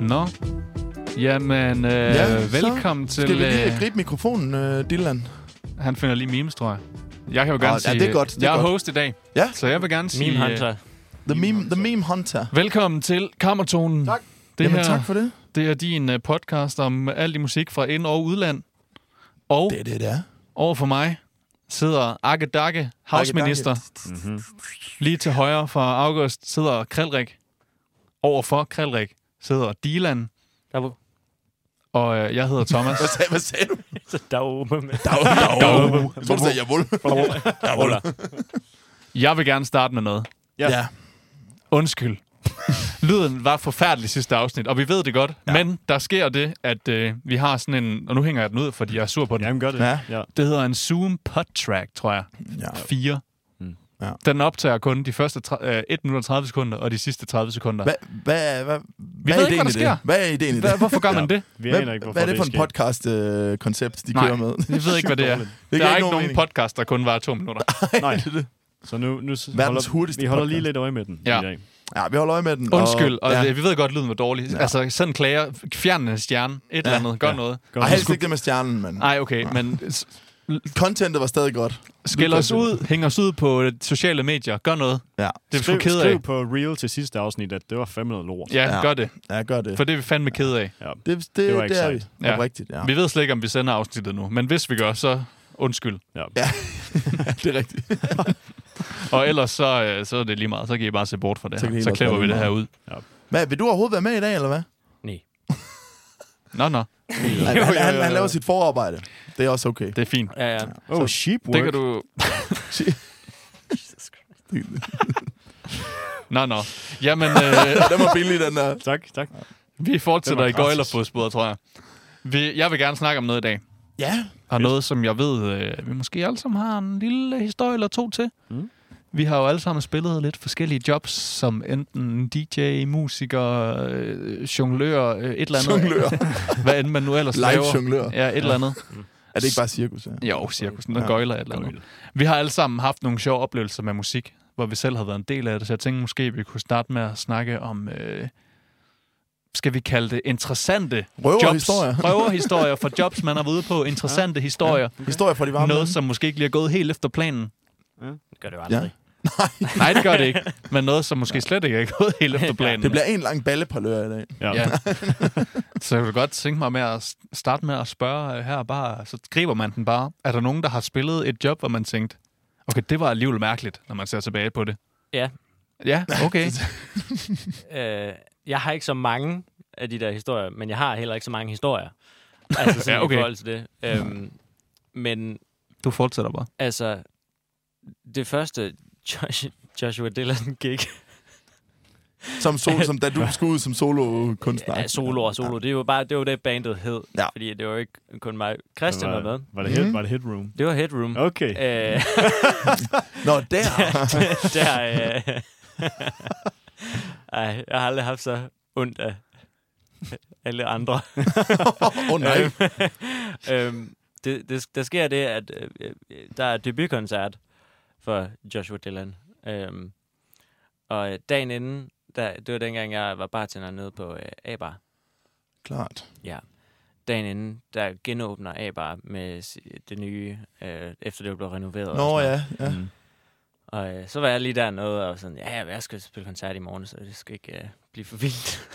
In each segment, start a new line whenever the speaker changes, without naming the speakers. Nå. Jamen, øh, ja, velkommen
så
til...
Skal vi lige
øh,
gribe mikrofonen, øh, Dylan?
han finder lige memes, tror jeg. Jeg kan jo
Nå,
gerne
ja,
sige...
det er godt, det er
jeg er
godt.
host i dag,
Ja,
så jeg vil gerne sige...
Meme
øh,
Hunter.
The Meme, the meme Hunter.
Velkommen til Kammertonen.
Tak.
Det
Jamen,
her,
tak for det.
det er din øh, podcast om alt i musik fra ind- og udland. Og
Det er det, det er.
over for mig sidder Akke Dakke, houseminister.
Mhm.
Lige til højre for August sidder Krelrik. Over for Krelrik sidder Dilan.
Der var...
Og øh, jeg hedder Thomas.
Hvad sagde, hvad sagde du?
Så der var med.
Dag, dag. Jeg tror, du sagde, jeg vil.
Ola.
Jeg vil gerne starte med noget.
Ja.
Ja.
Undskyld. Lyden var forfærdelig sidste afsnit, og vi ved det godt. Ja. Men der sker det, at øh, vi har sådan en... Og nu hænger jeg den ud, fordi jeg er sur på den.
Jamen, gør det.
Ja.
ja.
Det hedder en Zoom Pod Track, tror jeg.
ja.
4.
Mm.
Ja.
Den optager kun de første tre- øh, 1 minut og 30 sekunder og de sidste 30 sekunder.
Hvad, hvad, hvad, hvad
ved
er
ikke, hvad
ideen i
der
det?
sker.
Hvad er ideen i det?
Hva- Hvorfor gør man det?
Vi aner ikke,
Hvad,
hvorfor
hvad er det for en
sker.
podcast-koncept, de
Nej,
kører med?
jeg ved ikke, hvad det er.
giver
der er
ikke
ikke
nogen
nogen
mening.
podcast, der kun var to minutter.
Nej.
Det er det.
Så nu, nu s-
Verdens
holder,
hurtigste
vi holder
podcast.
lige lidt øje med den
Ja.
i dag.
Ja, vi holder øje med den.
Undskyld, og,
ja.
og ja. vi ved godt, at lyden var dårlig. Ja. Altså, send klager, fjern en stjerne, et ja. eller andet, gør ja.
ja.
noget.
Godt.
Ej, helst ikke det med stjernen, men
Nej, okay, men s-
contentet var stadig godt.
skæld os ud, hæng os ud på øh, sociale medier, gør noget.
Ja,
Det er vi sgu
skriv,
ked af.
skriv på Reel til sidste afsnit, at det var fandme noget lort.
Ja,
Ja.
gør det,
ja gør det.
for det er vi fandme ked af.
ja.
Det, det,
Det var
det,
ikke
det er vi.
sejt.
Ja.
Ja. Rigtigt, ja.
Vi ved slet ikke, om vi sender afsnittet nu, men hvis vi gør, så undskyld.
det er rigtigt.
Og ellers så, øh, så er det lige meget, så kan I bare se bort fra det
Så kan I
her. Så
bare
klipper
se
vi det
bort.
her ud.
Hvad, vil du overhovedet være med i dag, eller hvad?
Nå, nå,
Han, han, han, han laver sit forarbejde. Det er også okay.
det er fint.
Ja, ja.
Oh, sheep work.
Det kan du... Nå, nå. Jamen, øh,
Den var billig, den der.
Tak, tak.
vi fortsætter i
gratis.
gøjlerfodsporet, tror jeg. Vi, jeg vil gerne snakke om noget i dag.
Ja,
Og noget, som jeg ved, øh, vi måske alle sammen har en lille historie eller to til. Mm.
Mm.
Vi har jo alle sammen spillet lidt forskellige jobs, som enten DJ, musiker, øh, jonglør, øh, et eller andet.
jonglør.
Hvad end man nu ellers
Live
laver.
jonglør.
Ja, et eller andet.
Er det ikke bare cirkus? Ja?
Jo, cirkusen,
Ja.
og gøjler et eller andet. Vi har alle sammen haft nogle sjove oplevelser med musik, hvor vi selv har været en del af det, så jeg tænkte måske, vi kunne starte med at snakke om, øh, skal vi kalde det, interessante
Røverhistorier.
jobs. Røverhistorier fra jobs, man har været ude på. Interessante ja. historier.
Historier fra de
Ja.
varme
Noget,
lande.
som måske ikke lige er gået helt efter planen.
Det gør det jo
Ja.
aldrig.
Nej, det gør det ikke. Men noget, som måske slet ikke er gået helt efter planen.
Det bliver en lang ballepalør i dag.
Ja.
Ja. Så jeg vil godt tænke mig med at s- starte med at spørge øh, her bare, så griber man den bare. Er der nogen, der har spillet et job, hvor man tænkte, okay, det var alligevel mærkeligt, når man ser tilbage på det?
Ja.
Ja, okay.
Ja. Øh, jeg har ikke så mange af de der historier, men jeg har heller ikke så mange historier. Altså sådan
Ja,
ja,
okay.
okay. i forhold til det. Øhm, men
Du fortsætter bare.
altså, det første Josh, Joshua Dylan gik
Som, sol, som da du skulle ud som solo-kunstner.
ja, solo og solo, det var bare det, var det bandet hed.
Ja.
Fordi det var ikke kun mig. Christian var
var,
med.
Var det, hit,
Mm.
var det hit room?
Det var Headroom.
Okay.
Øh,
Nå, der.
der, øh, Ej, jeg har aldrig haft så ondt af alle andre.
Åh, oh, nej.
øhm, det, det, der sker det, at øh, øh, der er debutkoncert for Joshua Dylan. Øhm, og øh, dagen inden, der, det var dengang, jeg var bartender nede på øh, A-bar.
Klart.
Dagen inden, der genåbner A-bar med si- det nye, øh, efter det blev renoveret. og
Nå,
sådan
ja. ja.
Mm.
noget. Og øh, så var jeg lige dernede og var sådan, ja, ja, jeg skal spille koncert i morgen, så det skal ikke øh, blive for vildt.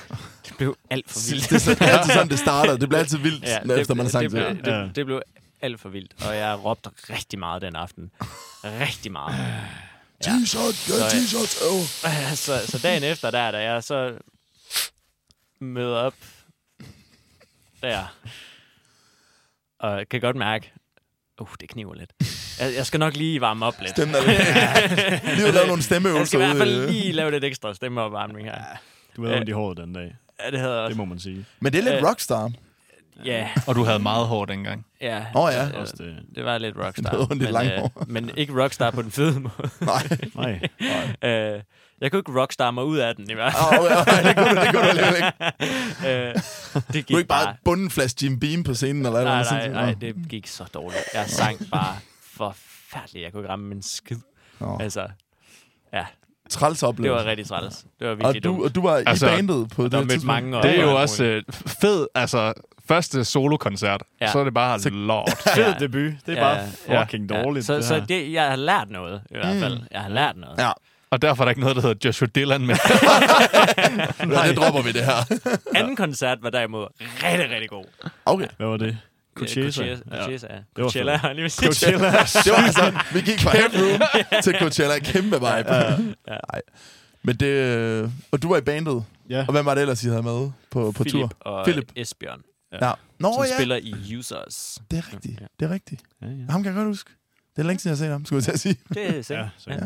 det blev alt for vildt.
Det er sådan- altid sådan, det starter. Det bliver altid vildt, når efter man har sagt
det,
det.
blev,
til. Ja.
det, det blev alt for vildt, og jeg råbte rigtig meget den aften. Rigtig meget. Ja.
T-shirt, ja,
Så, ja.
t-shirts, oh.
så, så dagen efter, der er der, jeg så møder op der, og kan godt mærke, uh, det kniver lidt. Jeg, jeg skal nok lige varme op lidt.
Den der, lige at lave nogle
Jeg
stemmeøvelser
skal i hvert
ude.
fald
øh.
lige lave lidt ekstra stemmeopvarmning her.
Du havde
Øh.
ondt i håret den dag.
Ja, det havde jeg
Det
også.
må man sige.
Men det er lidt
Øh.
rockstar.
Ja,
Og du havde meget hårdt dengang.
ja.
Åh, ja.
Øh,
Også det.
Det var lidt rockstar.
Det var lidt
men, øh,
langhåret.
men ikke rockstar på den fede måde.
Nej.
Nej.
Øh, jeg kunne ikke rockstar mig ud af den i hvert
Åh, ja, ja, Ah, det kunne du, det kunne du alligevel ikke.
fald. øh, det
Du
gik
er ikke bare bunde en flaske Jim Beam på scenen, eller
Nej,
noget
nej,
sådan
nej, det gik så dårligt. Jeg sang bare forfærdeligt. Jeg kunne ikke ramme min skid.
Nå.
Altså, ja.
Træls
Det var
oplevelse.
rigtig træls. Det var
Og
virkelig
du,
dumt.
og du var
Altså,
altså, i bandet på
og
det
der
her
mødte
tidspunkt.
mange og-
Det er
Og-
jo også øh, fed, altså første solokoncert.
Ja.
Ja. Så er det bare lort.
Fed
Ja.
debut. Det er
Ja,
bare
ja,
fucking dårligt.
Så,
det
så
her.
det, jeg har lært noget, i hvert fald. Jeg har lært noget.
Mm. Ja,
Og derfor er der ikke noget, der hedder Joshua Dylan, men
ja, det dropper vi det her.
Anden koncert var derimod rigtig, rigtig god.
Okay.
Hvad var det? Coachella.
Coachella. Øh, Coachella, ja.
var
Coachella, var lige præcis.
Coachella.
Det var altså, vi gik fra Headroom til Coachella. Kæmpe vibe. Nej. Men det... øh, Og du var i bandet.
Ja.
Og hvem var det ellers, I havde med på, på tur?
Philip og
Philip.
Esbjørn,
Ja. Nå
som
ja,
spiller i Users.
det er rigtigt.
Ja.
Det er rigtigt.
Ja, ja.
Ham kan jeg godt huske. Det er længe siden, jeg har set ham, skulle jeg til at sige.
Det er sikkert.
Ja,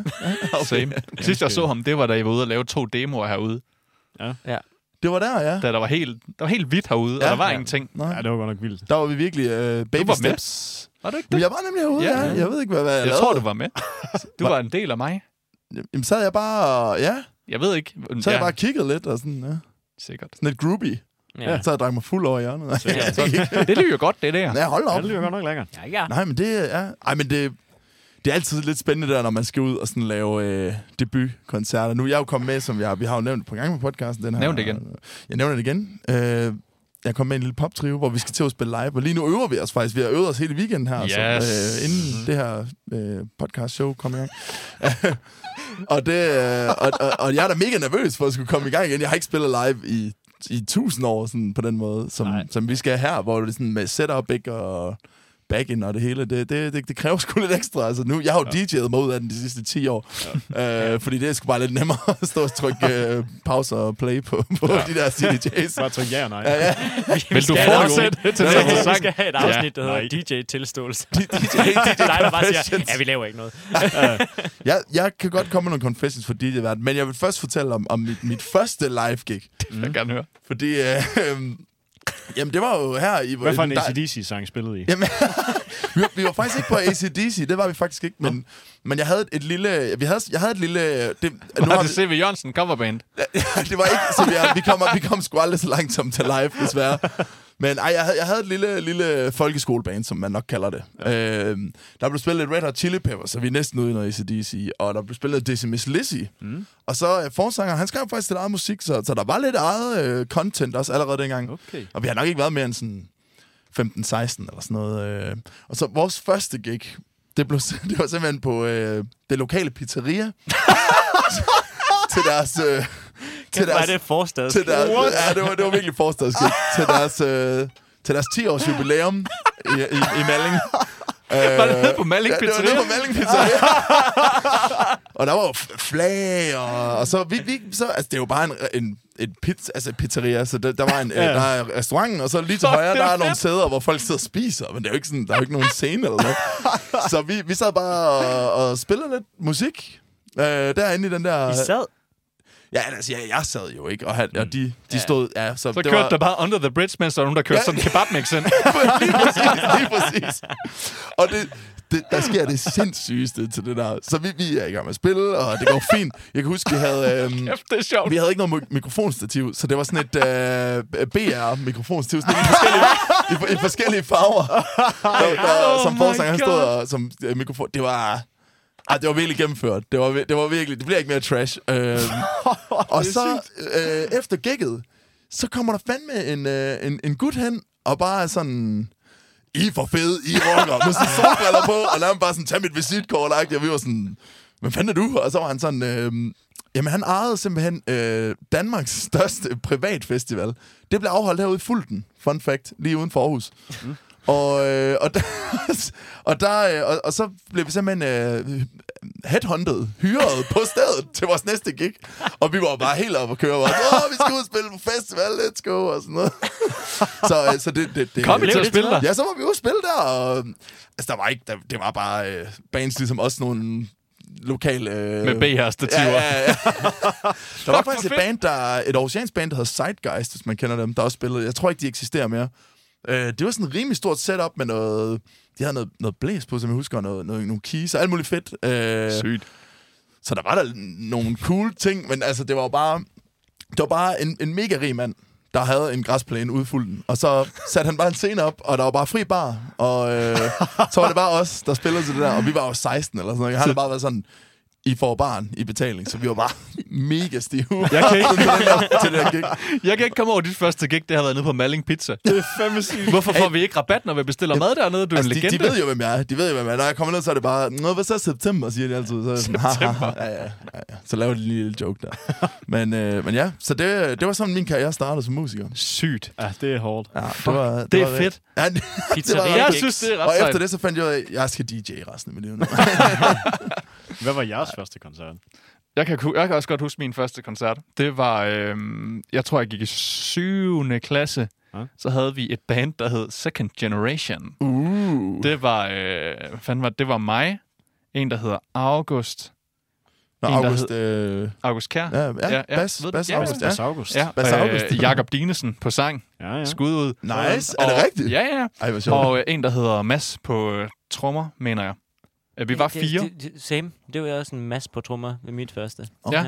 så-
Ja.
same. Sidst jeg så ham, det var da jeg var ude og lave to demoer herude.
Det var der, ja.
Da der var helt, der var helt hvidt herude, ja,
Ah. Ja.
og der var
Ja.
ja. ingenting.
Nej.
ja, det var godt nok vildt.
Der var vi virkelig øh,
var
baby
med.
steps.
Var du ikke
Men
det?
jeg var nemlig herude,
Ja.
ja. Jeg ved ikke, hvad, hvad jeg,
Jeg, jeg
lavede.
tror, du var med. Du
Hva-
var en del af mig.
Jamen, sad jeg bare og... Ja,
Jeg ved ikke.
så ja. jeg bare og kiggede lidt og sådan, ja.
Sikkert.
Sådan lidt groovy.
Ja.
Så jeg drak mig fuld over hjørnet.
Det lyder godt, det der.
ja, hold da
Ja,
op.
det lyder godt nok lækkert.
Ja, ja.
Nej, men det er... Ej, men det, det er altid lidt spændende der, når man skal ud og sådan lave øh, debutkoncerter. Nu er jeg jo kommet med, som vi har, vi har jo nævnt på gang på podcasten. Den her,
Nævn det igen.
Jeg nævner det igen. Øh, jeg kom med i en lille poptrio, hvor vi skal til at spille live. Og lige nu øver vi os faktisk. Vi har øvet os hele weekenden her, så,
Yes.
øh, inden det her øh, podcast-show kom i gang. og, det, øh, og, og, og jeg er da mega nervøs for at skulle komme i gang igen. Jeg har ikke spillet live i i tusind år sådan på den måde, som,
Nej.
som vi skal her, hvor det er sådan med setup ikke, og backend og det hele, det, det, det, det kræver sgu lidt ekstra. Altså nu, jeg har jo ja. DJ'et mig ud af den de sidste 10 år, ja. øh, fordi det er sgu bare lidt nemmere at stå og trykke øh, pause og play på, på ja. de der CDJ's.
Bare tryk ja og nej.
Ja, ja.
Vil du
skal
fortsætte til
Så
næste
vi
sang?
skal have et afsnit, der hedder
Nej.
DJ-tilståelse.
DJ
Der er der bare siger,
Confessions.
ja, vi laver ikke noget.
Jeg, jeg kan godt komme med nogle confessions for dj verden men jeg vil først fortælle om, om mit, mit første live gig.
Jeg vil gerne høre.
Fordi, øh, øh, jamen det var jo her i...
Hvad for en
der-
ACDC-sang spillede I?
Jamen, vi, var, vi var faktisk ikke på ACDC, det var vi faktisk ikke, men, men jeg havde et, et lille... Vi havde, jeg havde et lille... Det, Øh,
Var
nu har
det
vi-
C.V. Jørgensen coverband?
det var ikke, så vi, er, vi, kommer, vi kom sgu aldrig så langt som til live, desværre. Men ej, jeg, havde, jeg havde et lille, lille folkeskoleband, som man nok kalder det. Ja. Øhm, der blev spillet Red Hot Chili Peppers, så vi er næsten ude i noget ACDC. Og der blev spillet Dizzy Miss Lizzy. Mm. Og så øh, forsangeren, han skrev faktisk sit eget musik, så, så der var lidt eget øh, content også allerede dengang.
Okay.
Og vi har nok ikke været mere end sådan 15-16 eller sådan noget. Øh. Og så vores første gig, det, blev, sim- det var simpelthen på øh, det lokale pizzeria. til deres... Øh,
Kæft, hvor er det forstad.
til deres, ja, det var, det var virkelig forstadsgik. til deres, øh, til deres 10-års jubilæum i, i, i Malling.
Var det nede på Malling
Ja, det var
Pizzeria?
nede på Malling Pizzeria. og der var jo f- flag, og, og så, vi, vi, så, altså, det er jo bare en, en et pizza, altså et pizzeria, så der, der var en, øh, der er restauranten, og så lige til
Fuck,
højre,
det
der
var
er nogle
fedt.
sæder, hvor folk sidder og spiser, men det er jo ikke sådan, der er jo ikke nogen scene eller noget. så vi, vi sad bare og, og spillede lidt musik, øh, derinde i den der...
Vi sad.
Ja, altså, jeg, jeg sad jo ikke, og, han, og de, de
Ja.
stod... Ja, så
Så
det
kørte
var,
der bare Under the Bridge, mens der var nogen, der kørte
Ja.
sådan en kebabmix ind.
lige præcis, lige præcis. Og det, det, der sker det sindssygeste til det der. Så vi, vi er i gang med at spille, og det går fint. Jeg kan huske, vi havde... Øhm,
Kæft, det er sjovt.
vi havde ikke noget mi- mikrofonstativ, så det var sådan et øh, BR-mikrofonstativ, sådan i forskellige, i, i forskellige farver, der, der,
Oh
som
my
forsanger han stod
God.
og, som øh, mikrofon. Det var... Ah, det var virkelig gennemført. Det var, vir- det var virkelig... Det bliver ikke mere trash. Øhm, og så øh, efter gigget, så kommer der fandme en, øh, en, en gut hen, og bare er sådan... I er for fede, I rocker, med sådan solbriller på, og nærmest bare sådan, tag mit visitkort, og vi var sådan, hvad fanden er du? Og så var han sådan, øhm, jamen han ejede simpelthen øh, Danmarks største privatfestival. Det blev afholdt herude i Fulden, fun fact, lige uden for Aarhus. Mm. Og, øh, og, der, og, der, øh, og, og så blev vi simpelthen øh, headhunted, hyret på stedet til vores næste gig. Og vi var bare helt oppe at køre, og var, Åh, vi skal ud og spille på festival, let's go, og sådan noget. så, øh, så det, det, det,
Kom
det,
til at spille dig.
Ja, så var vi ude at spille der, og altså, der var ikke, der, det var bare øh, bands ligesom også nogle lokale... Øh,
Med
Ja,
BR-stativer.
ja, ja. der var
hvor
faktisk et
fedt.
band, der, et aarhusiansk band, der hedder Sidegeist, hvis man kender dem, der også spillede. Jeg tror ikke, de eksisterer mere. Øh, det var sådan et rimelig stort setup med noget... De havde noget, noget blæs på, som jeg husker, og noget, noget, nogle keys og alt muligt fedt. Øh,
Sygt.
så der var der nogle cool ting, men altså, det var jo bare... Det var bare en, en mega rig mand, der havde en græsplæne udfulden. Og så satte han bare en scene op, og der var bare fri bar. Og øh, så var det bare os, der spillede til det der. Og vi var jo 16 eller sådan noget. Han havde bare været sådan... I får barn i betaling, så vi var bare mega stive.
Jeg kan ikke-
til den der, til den der gig.
Jeg kan ikke komme over dit første gig, det har været nede på Malling Pizza.
Det er fandme sygt.
Hvorfor får vi ikke rabat, når vi bestiller mad dernede? Du er altså, en
Altså, de,
legende.
de, ved jo, hvem jeg er. De ved jo, hvem jeg er. Når jeg kommer ned, så er det bare, Nå, hvad så september, siger de altid. Så, er jeg sådan, "Ha, ha, ha."
September.
Ja, ja, ja, ja. Så laver de lige en lille joke der. men, øh, men ja, så det, det var sådan, min karriere startede som musiker.
Sygt.
Ja, det er hårdt.
Ja, det,
Fuck,
var,
det er
var
fedt.
Ja,
Pizzeria
Jeg
Jeg
gigs.
synes, det er
og
ret
efter
sejt. Uh.
det, så fandt jeg ud af, at jeg skal DJ resten af mit liv nu.
Hvad var jeres første koncert?
Jeg kan, ku- jeg kan også godt huske min første koncert. Det var, øh, jeg tror, jeg gik i 7. klasse.
Ja.
Så havde vi et band, der hed Second Generation.
uh.
Det var, øh, hvad fanden var, det? det var mig, en, der hedder August,
Nå,
En, der
August, øh,
August Kær.
ja, ja, ja, bas,
ved du-
bas,
ja,
August, ja.
Bas August.
Ja,
Bas August.
øh, Jakob Dinesen på sang.
ja. ja.
Ja. Skud ud.
Nice, er det
Og-
rigtigt?
Ja, ja.
Ej, hvor sjovt.
Og øh, en, der hedder Mads på øh, trommer, mener jeg. Øh, Vi var
Det-
fire.
Det, det, same. Det var jeg også en masse på trommer ved mit første.
Ja.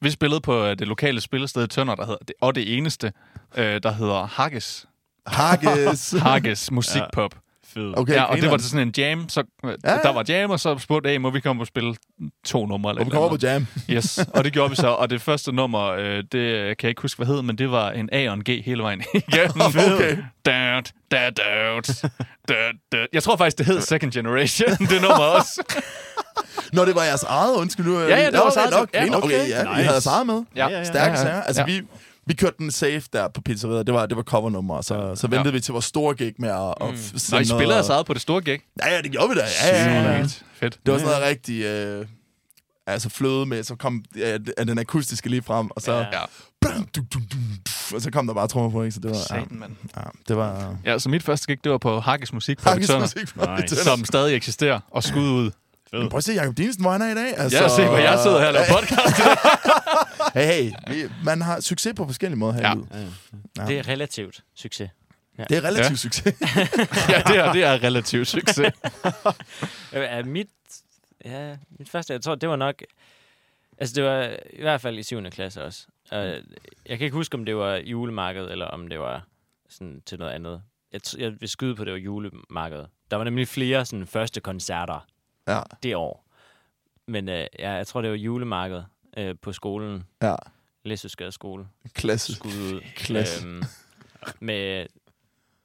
Vi spillede på øh, det lokale spillested i Tønder, der hedder, det- og det eneste, øh, der hedder Haggis.
Hakkes.
Haggis Musikpop. Ja.
Fed.
Okay,
ja, og det var
grineren.
til sådan en jam. Så, ja,
Ja, ja.
Der var jam, og så spurgte jeg, må vi komme og spille to numre? Eller
Og vi kommer på
et
jam.
eller andet. Yes, og det gjorde vi så. Og det første nummer, øh, det øh, kan jeg ikke huske, hvad hed, men det var en A og en G hele vejen igennem.
Okay.
Da, da, da, da, da. Jeg tror faktisk, det hed Second Generation, det nummer også.
Nå, det var jeres eget, undskyld. Nu,
ja, det var vores eget.
Nok,
Ja,
okay, okay,
okay,
ja, nice. I
nice.
havde jeres eget med.
Ja,
ja, ja.
Stærke ja, ja, ja.
ja.
Altså, vi, vi kørte den safe der på pizzeriet. Det var, det var covernummer, så, så ventede ja. vi til vores store gig med at, at mm. sende
Nå, I spillede
noget-
altså eget på det store gig.
Ja, ja, det gjorde vi da. Ja, ja, ja.
Sygt. Fedt.
Det var sådan noget rigtig... Øh, altså fløde med, så kom øh, af den akustiske lige frem, og så... Ja.
Ja.
Bam, du, du, du, du, og så kom der bare trommer på, ikke? Så det var... Ja,
Satan, mand.
ja, det var...
Ja, så mit første gig, det var på Hakkes Musik på
Hakkes
Tønder,
musik fra
Nice.
Tønder.
som stadig eksisterer og skud ud.
Men Prøv at se Jacob Dinesen, hvor han er i dag. Altså,
Ja, og se, hvor jeg sidder her og laver podcast.
Hey, vi- man har succes på forskellige måder her. Ja.
Ja, ja.
Det er relativt succes.
Det er relativt
Ja.
succes.
ja, det er, det er relativt succes.
Ja, Øh, mit, ja, mit første, jeg tror, det var nok... Altså, det var i hvert fald i 7. klasse også. Og jeg kan ikke huske, om det var julemarkedet, eller om det var sådan til noget andet. Jeg, tr- jeg vil skyde på, at det var julemarkedet. Der var nemlig flere sådan, første koncerter
Ja,
det år. Men øh, ja, jeg tror, det var julemarkedet øh, på skolen.
ja.
Læsøskade skole.
Klasse.
Skud ud.
Klasse.
Øhm, med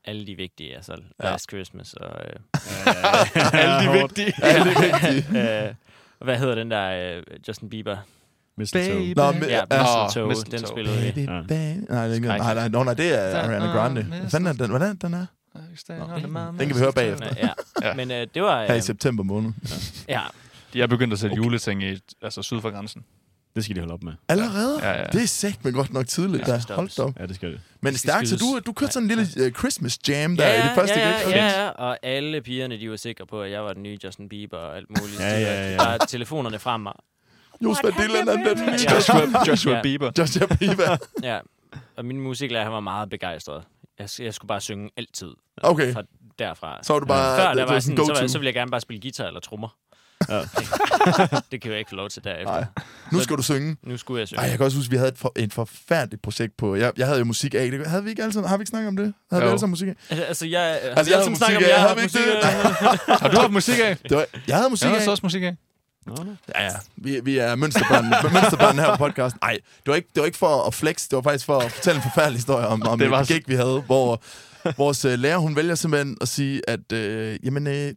alle de vigtige, altså ja. Last Christmas og... Øh,
Alle de
hårdt.
vigtige.
Ja, det er rigtigt.
øh, hvad hedder den der øh, Justin Bieber?
Mistletoe.
Nå, men,
Ja,
ja,
Mistletoe,
Åh,
den
Mistletoe.
spillede vi.
Baby,
Ja.
baby. Nej, det er ikke den. Nej, nej, nå, nej, det er
Der
Ariana
er
Grande.
mistletoe.
Hvordan er den? Hvordan er den er?
Nå,
Den kan vi høre bagefter.
Men, ja.
Ja.
Men øh, det var... Øh,
Her i september måned.
ja,
Jeg begyndte at sætte juleting i, altså syd for grænsen.
Det skal de holde op med.
Allerede?
Ja, ja.
Det er sæt med godt nok tidligt.
Ja,
Ja,
stoppes.
Hold da op.
Ja, det skal det.
Men
Det skal
stærkt, så du,
skydes.
du kørte sådan en lille uh, Christmas jam der
ja,
i det første
ja,
gig.
ja, ja, ja, og alle pigerne, de var sikre på, at jeg var den nye Justin Bieber og alt muligt.
Ja,
De-
ja, ja.
Der er telefonerne frem mig.
Joshua Dylan and den.
Ja.
Joshua, Joshua
Ja.
Bieber.
Joshua Bieber.
Ja. Og min musiklærer, han var meget begejstret. Jeg, jeg skulle bare synge altid
Okay,
fra derfra.
så var du bare...
Før,
det-
der
det
var
sådan
sådan, så,
go-to.
var, så ville jeg gerne bare spille guitar eller trommer.
Ja.
det kan jeg ikke få lov til derefter.
Nej. Nu skal du synge.
Nu skulle jeg synge.
Ej, jeg kan også huske, vi havde et, for, et forfærdeligt projekt på... Jeg, jeg havde jo musik af. Det havde vi ikke alle sammen... Har vi ikke snakket om det? Havde
Jo.
vi alle sammen musik af?
Altså, altså, jeg,
Altså, jeg havde
som
musik
snakker om,
af,
jeg
havde
har
vi ikke det?
musik af.
Har du haft musik af?
Det var, jeg havde musik
Jeg har
af.
også også musik af.
Nå, nå.
Ja, ja. Vi, vi er mønsterbørn, mønsterbørn her på podcasten. Nej, det var, ikke, det var ikke for at flex, det var faktisk for at fortælle en forfærdelig historie om, om
Det
det
var
var et
så-
gig, vi havde, hvor vores øh, lærer, hun vælger simpelthen at sige, at øh, jamen, øh,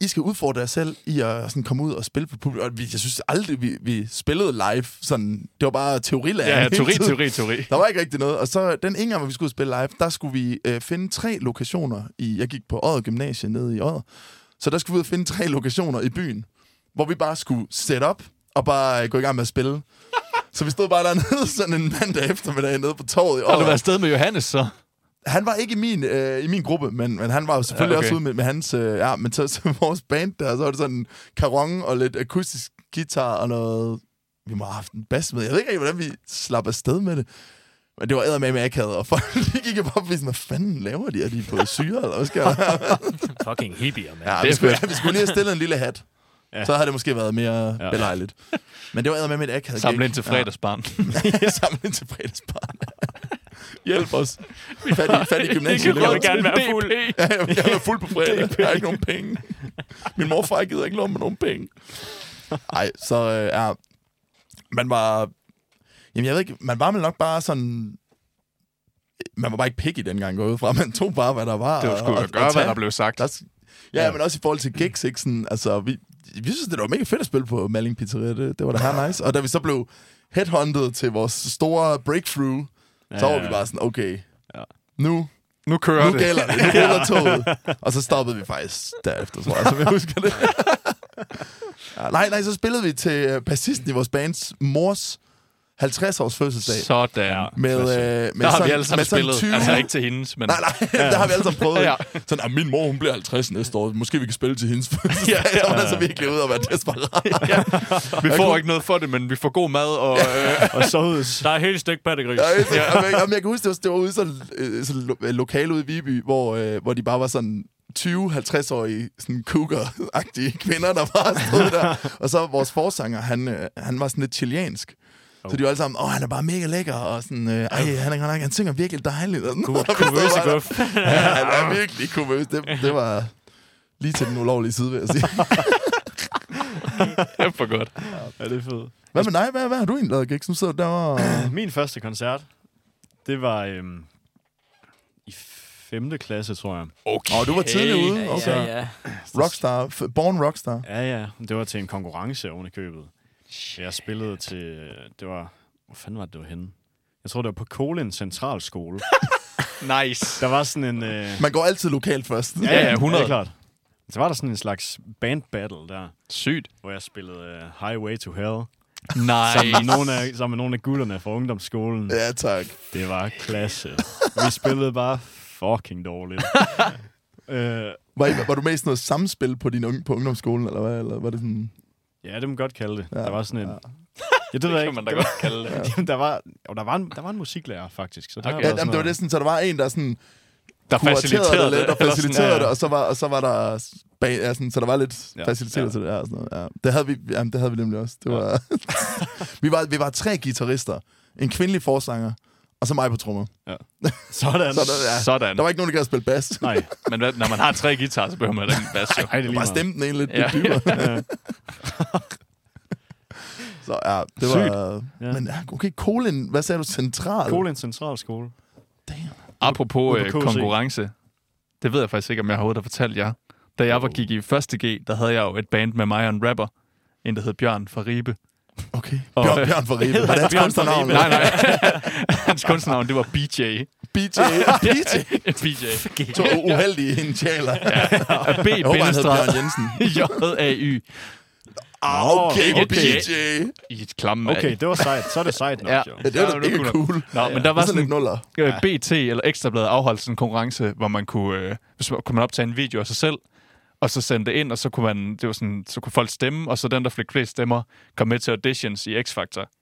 I skal udfordre jer selv i at sådan, komme ud og spille for publikum. Og vi, jeg synes aldrig, vi, vi spillede live. Sådan, det var bare teorilæring.
Ja, ja,
hele
teori,
tiden.
teori, teori.
Der var ikke rigtig noget. Og så den ene gang, hvor vi skulle spille live, der skulle vi øh, finde tre lokationer. I, jeg gik på Odder Gymnasie nede i Odder. Så der skulle vi ud og finde tre lokationer i byen, hvor vi bare skulle sætte op og bare øh, gå i gang med at spille. Så vi stod bare dernede sådan en mandag eftermiddag nede på torvet i
Har du
Odder.
været afsted med Johannes, så?
Han var ikke i min, øh, i min gruppe, men, men han var jo selvfølgelig
Ja,
ja,
okay.
okay. også ude med, med hans... Øh, ja, men så, så vores band der, så var det sådan karon og lidt akustisk guitar og noget... Vi må have haft en bas med. Jeg ved ikke rigtig, hvordan vi slap afsted med det. Men det var med akavet, og folk de gik jo bare og vidste, hvad fanden laver de? Er de på syre, eller hvad sker der?
Fucking hippier, mand.
Ja,
Det
vi
er
skulle,
fedt.
vi skulle lige have stillet en lille hat.
Ja.
Ja. Så havde det måske været mere
Ja.
ja. belejligt. Men det var med et akavet
Samle
gig.
ind til fredagsbarn.
Ja. Samle ind til fredagsbarn. Hjælp os. Fat i, fat i gymnasiet.
Jeg
elever.
vil gerne være fuld.
Ja, jeg, jeg er fuld på fredag. Jeg har ikke nogen penge. Min morfar gider ikke låne mig nogen penge. Nej, så øh, ja, man var... Jamen, jeg ved ikke, man var vel nok bare sådan... Man var bare ikke picky dengang, går jeg ud fra. Man tog bare, hvad der var.
Det var sgu at gøre, hvad der blev sagt.
Der, ja, ja, men også i forhold til gigs, ikke? Sådan, altså, vi, vi synes, det var mega fedt at spille på Malling Pizzeria. Det, det var da her nice. Og da vi så blev headhunted til vores store breakthrough, ja. så var vi bare sådan, okay,
Ja.
ja. nu,
Nu kører
nu
det.
gælder det, nu gælder toget. Og så stoppede vi faktisk derefter, tror jeg, som jeg husker det. ja, nej, nej, så spillede vi til øh, bassisten i vores bands mors 50-års fødselsdag.
Sådan.
Ja.
Med, øh, med
Der har vi
sådan-
alle sammen
med sådan
spillet.
20
Altså ikke til hendes, men...
Nej, nej, der har vi alle sammen prøvet.
Ja.
ja. Sådan, "Ah, min mor, hun bliver 50 næste år. Måske vi kan spille til hendes fødselsdag. ja, ja. Hun er så virkelig ude og være desperat. ja.
Vi får ikke noget for det, men vi får god mad og... Øh,
Og så ud.
Der er et helt stykke pattegris.
Ja, jeg, jeg, jeg, jeg kan huske, det var, det var ude i sådan, øh, sådan lo- øh, lokale ude i Viby, hvor, øh, hvor de bare var sådan 20-50-årige sådan cougar-agtige kvinder, der bare stod der. Og så vores forsanger, han, øh, han var sådan lidt chilensk. Så de var alle sammen, åh, han er bare mega lækker, og sådan, øh, ej, han, er, godt nok- han synger virkelig dejligt. Og
Gud, Kuvøse guf.
Ja, han er virkelig kumøs. Det, det var lige til den ulovlige side, vil jeg sige.
ja, for godt.
Ja, det er fedt.
Hvad med dig? Hvad, hvad har du egentlig lavet, Gik? Som så der var...
Min første koncert, det var øhm, i 5. klasse, tror jeg.
Okay.
Åh, du var tidlig ude.
Ja,
Okay.
ja, ja.
Rockstar. F- Born rockstar.
Ja, ja. Det var til en konkurrence oven i købet. Jeg spillede til... Det var... Hvor fanden var det, det var henne? Jeg tror, det var på Kolin Centralskole.
Nice.
Der var sådan en... Øh,
Man går altid lokalt først.
Ja, ja, 100.
Det er klart. Så var der sådan en slags band battle der,
Sygt.
hvor jeg spillede uh, Highway to Hell sammen, med
Nice.
nogle af, sammen med nogle af gutterne fra ungdomsskolen.
Ja, tak.
Det var klasse. Vi spillede bare fucking dårligt. øh,
Var, I, var du med i sådan noget samspil på din unge, på ungdomsskolen, eller hvad? Eller var det sådan...
ja, det må man godt kalde det.
Ja,
der var sådan en...
ja.
Ja. Jeg det ved jeg
kan
ikke.
man da
Der
godt kalde det.
var, jamen, der var, jo, der var, en, der var en musiklærer, faktisk. Så der
Okay.
var
Ja,
sådan
jamen, det var det sådan, så der var en, der sådan
Der
faciliterede det lidt, og
eller sådan,
faciliterede
ja.
det, og så var, og så var der... s- Bag, ja, sådan, så der var lidt
Ja,
ja, faciliteter
ja.
ja. til det der og sådan noget. Ja. Det, havde vi, jamen, det havde vi nemlig også. Det var, vi, var, vi var tre guitarister, en kvindelig forsanger, og så mig på trommer.
Sådan.
Sådan, ja.
Sådan.
Der var ikke nogen, der gad spille bas.
Nej,
Men hvad, når man har tre guitarer, så behøver man da ikke en bas. jo.
nej, det er lige
Bare
meget.
stemte den en lidt,
Ja.
lidt dybere.
Ja.
Så ja, det var...
Ja.
Ja. Men ja, okay, Colin, hvad sagde du? Central?
Kolin Centralskole.
Apropos
Ude
øh,
på KC.
konkurrence. Det ved jeg faktisk ikke, om jeg har overhovedet fortalt jer. Da jeg var gik i 1.G, der havde jeg jo et band med mig og en rapper. En, der hed Bjørn fra Ribe.
Okay. Bjørn, Bjørn for Ribe. Hvad er hans
Bjørn fra
kunstnernavn?
Ribe.
Nej, nej. Hans kunstnavn, det var BJ.
BJ. BJ.
BJ.
To uheldige initialer.
B
Jeg håber, han hedder Bjørn Jensen.
j a y
Ah, okay,
okay.
BJ.
I et klamme af.
Okay, det var sejt. Så er det sejt nok,
Ja.
ja. jo.
Ja, det var
Ja,
da
det
mega
kunne-
cool.
Nå, men der
Det var
var
sådan
sådan
lidt nuller.
øh, BT eller Ekstrabladet afholdt sådan en konkurrence, hvor man kunne, øh, hvis man, kunne man optage en video af sig selv, og så sende det ind, og så kunne, man, det var sådan, så kunne folk stemme, og så den, der fik flest stemmer, kom med til auditions i X-Factor.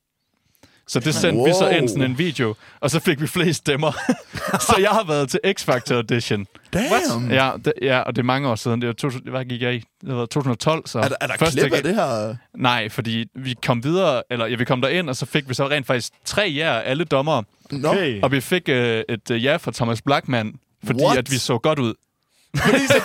Så det sendte wow. vi så ind sådan en video, og så fik vi flest stemmer. så jeg har været til X-Factor audition.
Damn.
Ja, det, ja, og det er mange år siden. Det var to, hvad gik jeg i? Det var 2012, så
Er der, er der
første
klip
gang-
af det her?
Nej, fordi vi kom videre, eller ja, vi kom derind, og så fik vi så rent faktisk tre jer alle dommere.
Nå, okay.
Okay.
Og vi fik øh, et øh, ja fra Thomas Blackman, fordi
What?
at vi så godt ud.
fordi så...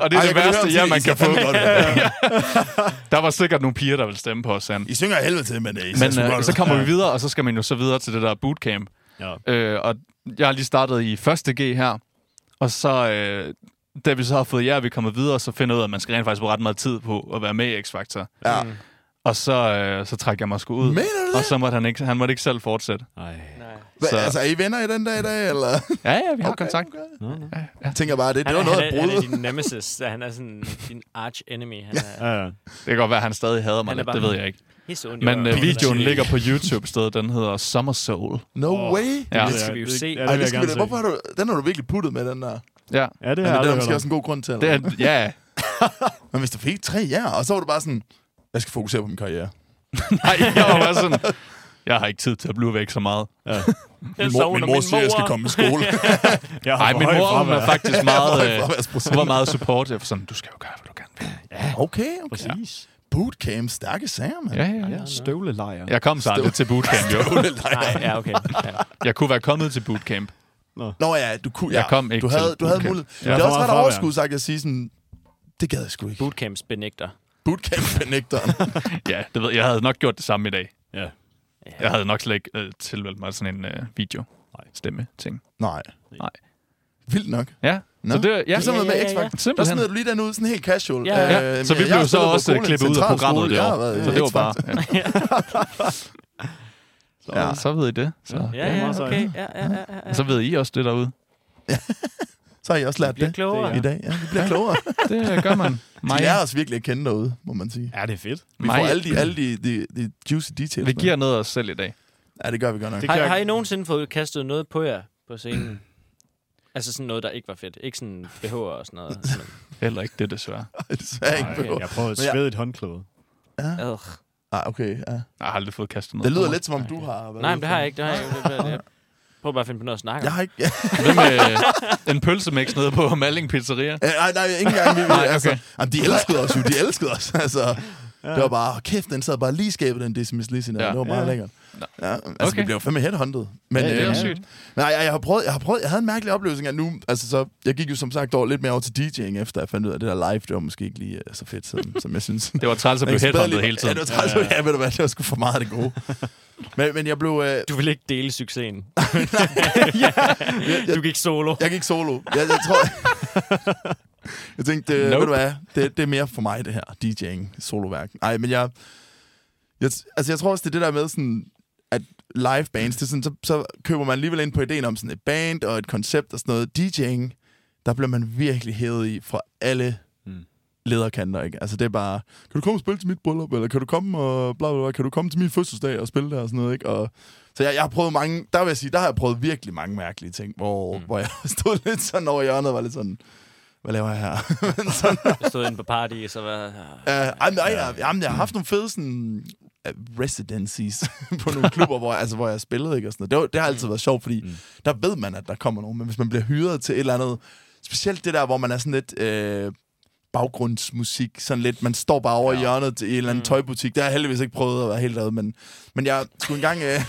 Og det er
Ej,
Ej, det
jeg kan
værste
høre,
ja,
at
man
I
kan få.
ser fandme godt ud.
Der var sikkert nogle piger, der ville stemme på os, Sand.
I synger af helvede til, men øh, I ser sgu
Men øh,
godt
så
ud.
kommer vi videre, og så skal man jo så videre til det der bootcamp.
Ja.
Øh, og jeg har lige startet i 1. G her, og så... Øh, da vi så har fået jer, og vi er kommet videre, så finder jeg ud af, at man skal rent faktisk bruge ret meget tid på at være med i X-Factor.
Ja.
Og så, øh, så trækker jeg mig sgu ud.
Mener du
og
det?
så måtte han ikke, han måtte ikke selv fortsætte.
Ej.
Nej.
Hva-
så-
Altså, er I venner i den dag i dag, eller?
Ja, ja, vi har okay, kontakt. Okay.
Nå, nå.
Jeg tænker bare, det, det var
Han-
noget
han
at
er-
bryde.
Han er din nemesis. så Han er sådan din arch enemy. Han er
Ja, ja.
Det kan godt være, at han stadig hader mig
Han er
lidt,
bare-
det ved jeg ikke.
his own.
Men øh,
hero.
videoen ligger på YouTube stedet, den hedder Summer Soul.
No
Åh.
way.
Ja,
Det skal vi jo se.
Ja,
Ej,
det vil
det
jeg
skal vi
gerne
da.
se.
Hvorfor har du... Den har du virkelig puttet med, den der.
ja.
Ja, det
Men
har jeg
det er
aldrig
der måske
hørt
også
om.
en god grund til.
Det
eller
er, ja.
hvad? Men hvis du fik tre ja, og så var du bare sådan... Jeg skal fokusere på min karriere.
Nej, jeg var bare sådan, jeg har ikke tid til at blive væk så meget.
Den
Min mor,
savner
min mor siger, jeg skal komme i skole.
Jeg har
Nej,
for
min
højt
mor hun
fravær.
var faktisk meget,
Høj
øh,
fraværsprocent.
hun var meget support. Jeg var sådan, du skal jo gøre, hvad du gerne vil.
Okay, okay.
Præcis.
Bootcamp, stærke sager, mand.
Ja, ja, ja.
Ja, støvlelejr.
Jeg kom så aldrig til bootcamp, jo.
Nej, ja, okay. Ja.
Jeg kunne være kommet til bootcamp.
Nå ja, du kunne... Ja.
Jeg kom ikke
du havde,
til
du havde
bootcamp.
mulighed.
Ja.
det er
For
også
meget
ret
fravær.
overskud sagt at sige sådan... Det gad jeg sgu ikke.
Bootcamps benægter.
Bootcamp-benægteren.
Ja, det ved jeg. Jeg havde nok gjort det samme i dag.
Ja.
Jeg havde nok slet ikke øh, tilvalgt mig sådan en øh, video stemme ting.
Nej.
Nej.
Vildt nok.
Ja,
Nå.
så det,
Ja,
ja.
det er sådan noget med
Ja, ja, ja, ja.
X-Factor. Der
Simpelthen.
smider du lige den ud, sådan helt casual.
Ja, ja.
Øh,
Så vi
jeg
blev
har
så
spillet på
også øh,
Cola
klippet ud af
Centralskole.
programmet
Jeg har
derovre.
været
Så
i
det var
X-Factor.
bare... Ja. Så,
Ja.
ja. så ved I det. Så,
Ja, ja,
meget sejt.
okay. Ja, ja, ja, ja.
og så ved I også det derude.
Så har I også lært
bliver
det
klogere.
i dag. Ja, vi bliver klogere.
Det øh, gør man.
De
Maja,
lærer os virkelig at kende derude, må man sige.
Ja, det er fedt.
Vi får
Maja.
alle de, alle de, de, de juicy details.
vi
med.
giver noget af os selv i dag.
Ja, det gør vi godt nok.
Det-
Har,
Jeg-
har I nogensinde fået kastet noget på jer på scenen? altså sådan noget, der ikke var fedt. Ikke sådan BH'er og sådan noget. Men,
Heller ikke det, desværre.
Det er desværre ikke
Ej,
behøver.
jeg prøvede at
Men jeg-
svede et håndklæde.
øh.
Ah, okay, ja.
Jeg har aldrig fået kastet noget.
Det lyder
på mig.
lidt som om, du har været
Nej,
ude
men det
for-
har jeg ikke. Det har jeg ikke. Det, det, det. Prøv bare at finde på noget at snakke
Jeg
om.
har ikke...
Hvad med øh, en pølsemix nede på Malling Pizzeria?
Øh, Nej, nej, ikke engang. Vi,
Nej,
nej, altså,
okay.
jamen, de elskede os jo, de elskede os. Altså, ja. Det var bare, "Åh, kæft, den sad bare lige i skabet, den Decimus Lizzy. Ja.
Ja.
Det var meget
Ja.
ja. lækkert.
Nå.
Ja, altså, okay.
Okay.
vi blev jo fandme headhunted. Men, øh,
Ja,
Det
det
er jo
jo
sygt.
Nej, jeg, jeg, har prøvet, jeg har prøvet, jeg havde en mærkelig oplevelse af nu, altså så, jeg gik jo som sagt over lidt mere over til DJ'ing, efter jeg fandt ud af, at det der live, det var måske ikke lige uh, så fedt, som, som jeg synes.
Det var træls at blive
Jeg kan bedre
headhunted
lide-
hele tiden.
Ja, det var træls, ja, ja. ja, ved du hvad, det var sgu for meget af det gode. men, men jeg blev, øh,
Du vil ikke dele succesen.
jeg, jeg,
Du gik solo.
jeg gik solo. Jeg, jeg tror... jeg tænkte, nope. ved
Nope.
du hvad, det, det er mere for mig, det her DJ'ing, soloværk. Nej, men jeg, jeg... Altså, jeg tror også, det er det der med sådan at live bands, det er sådan, så, så køber man alligevel ind på ideen om sådan et band og et koncept og sådan noget. DJ'ing, der bliver man virkelig hævet i fra alle
Mm.
lederkanter, ikke? Altså, det er bare, kan du komme og spille til mit bryllup, eller kan du komme og bla, bla, bla, kan du komme til min fødselsdag og spille der og sådan noget, ikke? Og, så jeg, jeg har prøvet mange, der vil jeg sige, der har jeg prøvet virkelig mange mærkelige ting, hvor, mm. hvor jeg stod lidt sådan over hjørnet og var lidt sådan, hvad laver jeg her? Men sådan,
Jeg stod inde på party, så var
Øh, jamen, jeg, jeg, jamen, jeg har haft nogle fede sådan, øh, residencies på nogle klubber, hvor, altså, hvor jeg spillede. Ikke, og sådan noget. Det, var, det har altid været sjovt, fordi mm. der ved man, at der kommer nogen. Men hvis man bliver hyret til et eller andet... Specielt det der, hvor man er sådan lidt... Øh, baggrundsmusik, sådan lidt, man står bare over ja. i hjørnet til en eller anden mm. tøjbutik. Det har jeg heldigvis ikke prøvet at være helt derude, men, men jeg skulle engang... Øh,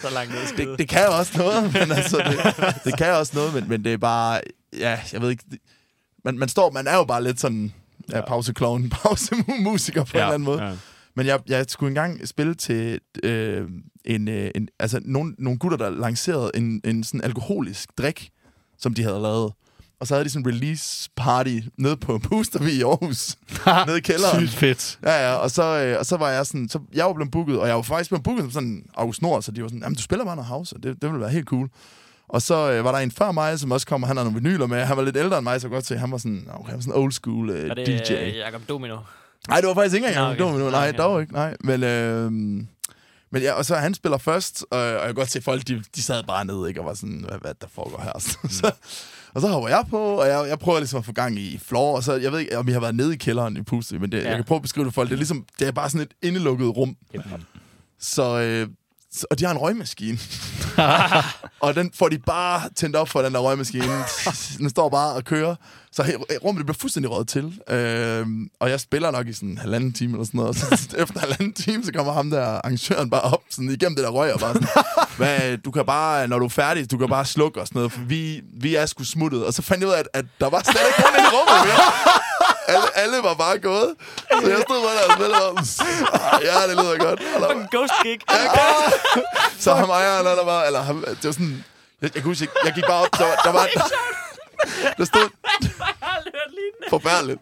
så langt ned
det, det kan jo også noget, men altså, det, det kan jo også noget, men, men det er bare, ja, jeg ved ikke, det, man, man står, man er jo bare lidt sådan, ja, pausekloven, pausemusiker på ja,
Ja,
en eller anden måde.
Ja.
Men jeg, jeg skulle engang spille til øh, en, øh, en, altså nogle, nogle gutter, der lancerede en, en sådan alkoholisk drik, som de havde lavet. Og så havde de sådan en release party nede på Boosterby i Aarhus. nede i kælderen.
Sygt fedt.
Ja, ja, og så, øh, og så var jeg sådan, så jeg var blevet booket, og jeg var faktisk blevet booket som sådan August Nord, så de var sådan, jamen du spiller bare noget house, og det, det ville være helt cool. Og så øh, var der en før mig, som også kom, og han har nogle vinyler med, han var lidt ældre end mig, så jeg kunne godt se, han var sådan, okay, han var sådan old school øh,
Var det
DJ.
øh, Jakob Domino?
Nej, det var faktisk ikke
Nå,
engang,
okay.
okay. nej,
Nå,
nej,
okay.
dog ikke, nej. Men, øh, men ja, og så han spiller først, øh, og jeg kan godt se, folk de, de sad bare nede, ikke, og var sådan, hvad, hvad der foregår her? Så,
Mm.
så, og så hopper jeg på, og jeg, jeg prøver ligesom at få gang i floor, og så, jeg ved ikke, om vi har været nede i kælderen i Pussy, men det,
Ja.
ja. jeg kan prøve at beskrive det for folk, det er ligesom, det er bare sådan et indelukket rum. Så, øh, så, og de har en røgmaskine. og den får de bare tændt op for, den der røgmaskine. den står bare og kører. Så he- rummet det bliver fuldstændig røget til. Øh, og jeg spiller nok i sådan en halvanden time eller sådan noget. Og så efter halvanden time, så kommer ham der arrangøren bare op sådan igennem det der røg og bare sådan, Hvad, du kan bare, når du er færdig, du kan bare slukke og sådan noget. For vi, vi er sgu smuttet. Og så fandt jeg ud af, at, at der var stadig kun i rummet. mere. Alle, alle var bare gået. Så jeg stod bare der og spillede om. Ja, det lyder godt. Og der-
Ghost gig.
så ham ejeren, han er bare, eller ham, det var sådan, jeg, jeg kunne huske, jeg, jeg gik bare op, der, var- der var, der, der stod forfærdeligt,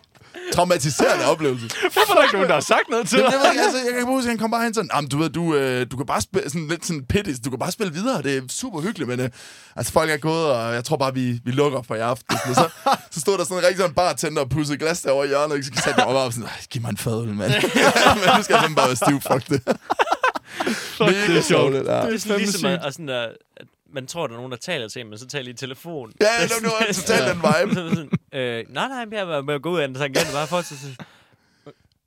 traumatiserende oplevelse.
Hvorfor er der ikke nogen, der har sagt noget til
Jamen,
dig?
jeg, ved ikke, altså, jeg kan bare huske, at han kom bare hen sådan, jamen, du ved, du, øh, du kan bare spille sådan lidt sådan pittis, du kan bare spille videre, det er super hyggeligt, men øh, altså folk er gået, og jeg tror bare, vi, vi lukker for i aften. Sådan, og så, så stod der sådan en rigtig sådan bare tænder og pudsede glas derovre i hjørnet, og så satte jeg mig bare op sådan, "Ej, giv mig en fadøl, mand. men nu skal jeg sådan bare være stiv, fuck det.
Fuck, det er sjovt.
sørgeligt, ja.
Det er sådan
fandme
ligesom, at,
sygt.
og sådan, at, at man tror, der er nogen, der taler til en, men så taler de i telefon.
Ja, ja, det var totalt den vibe.
Så er det sådan, øh, nej, nej, men jeg var med at gå ud af den tangent, bare for at sige,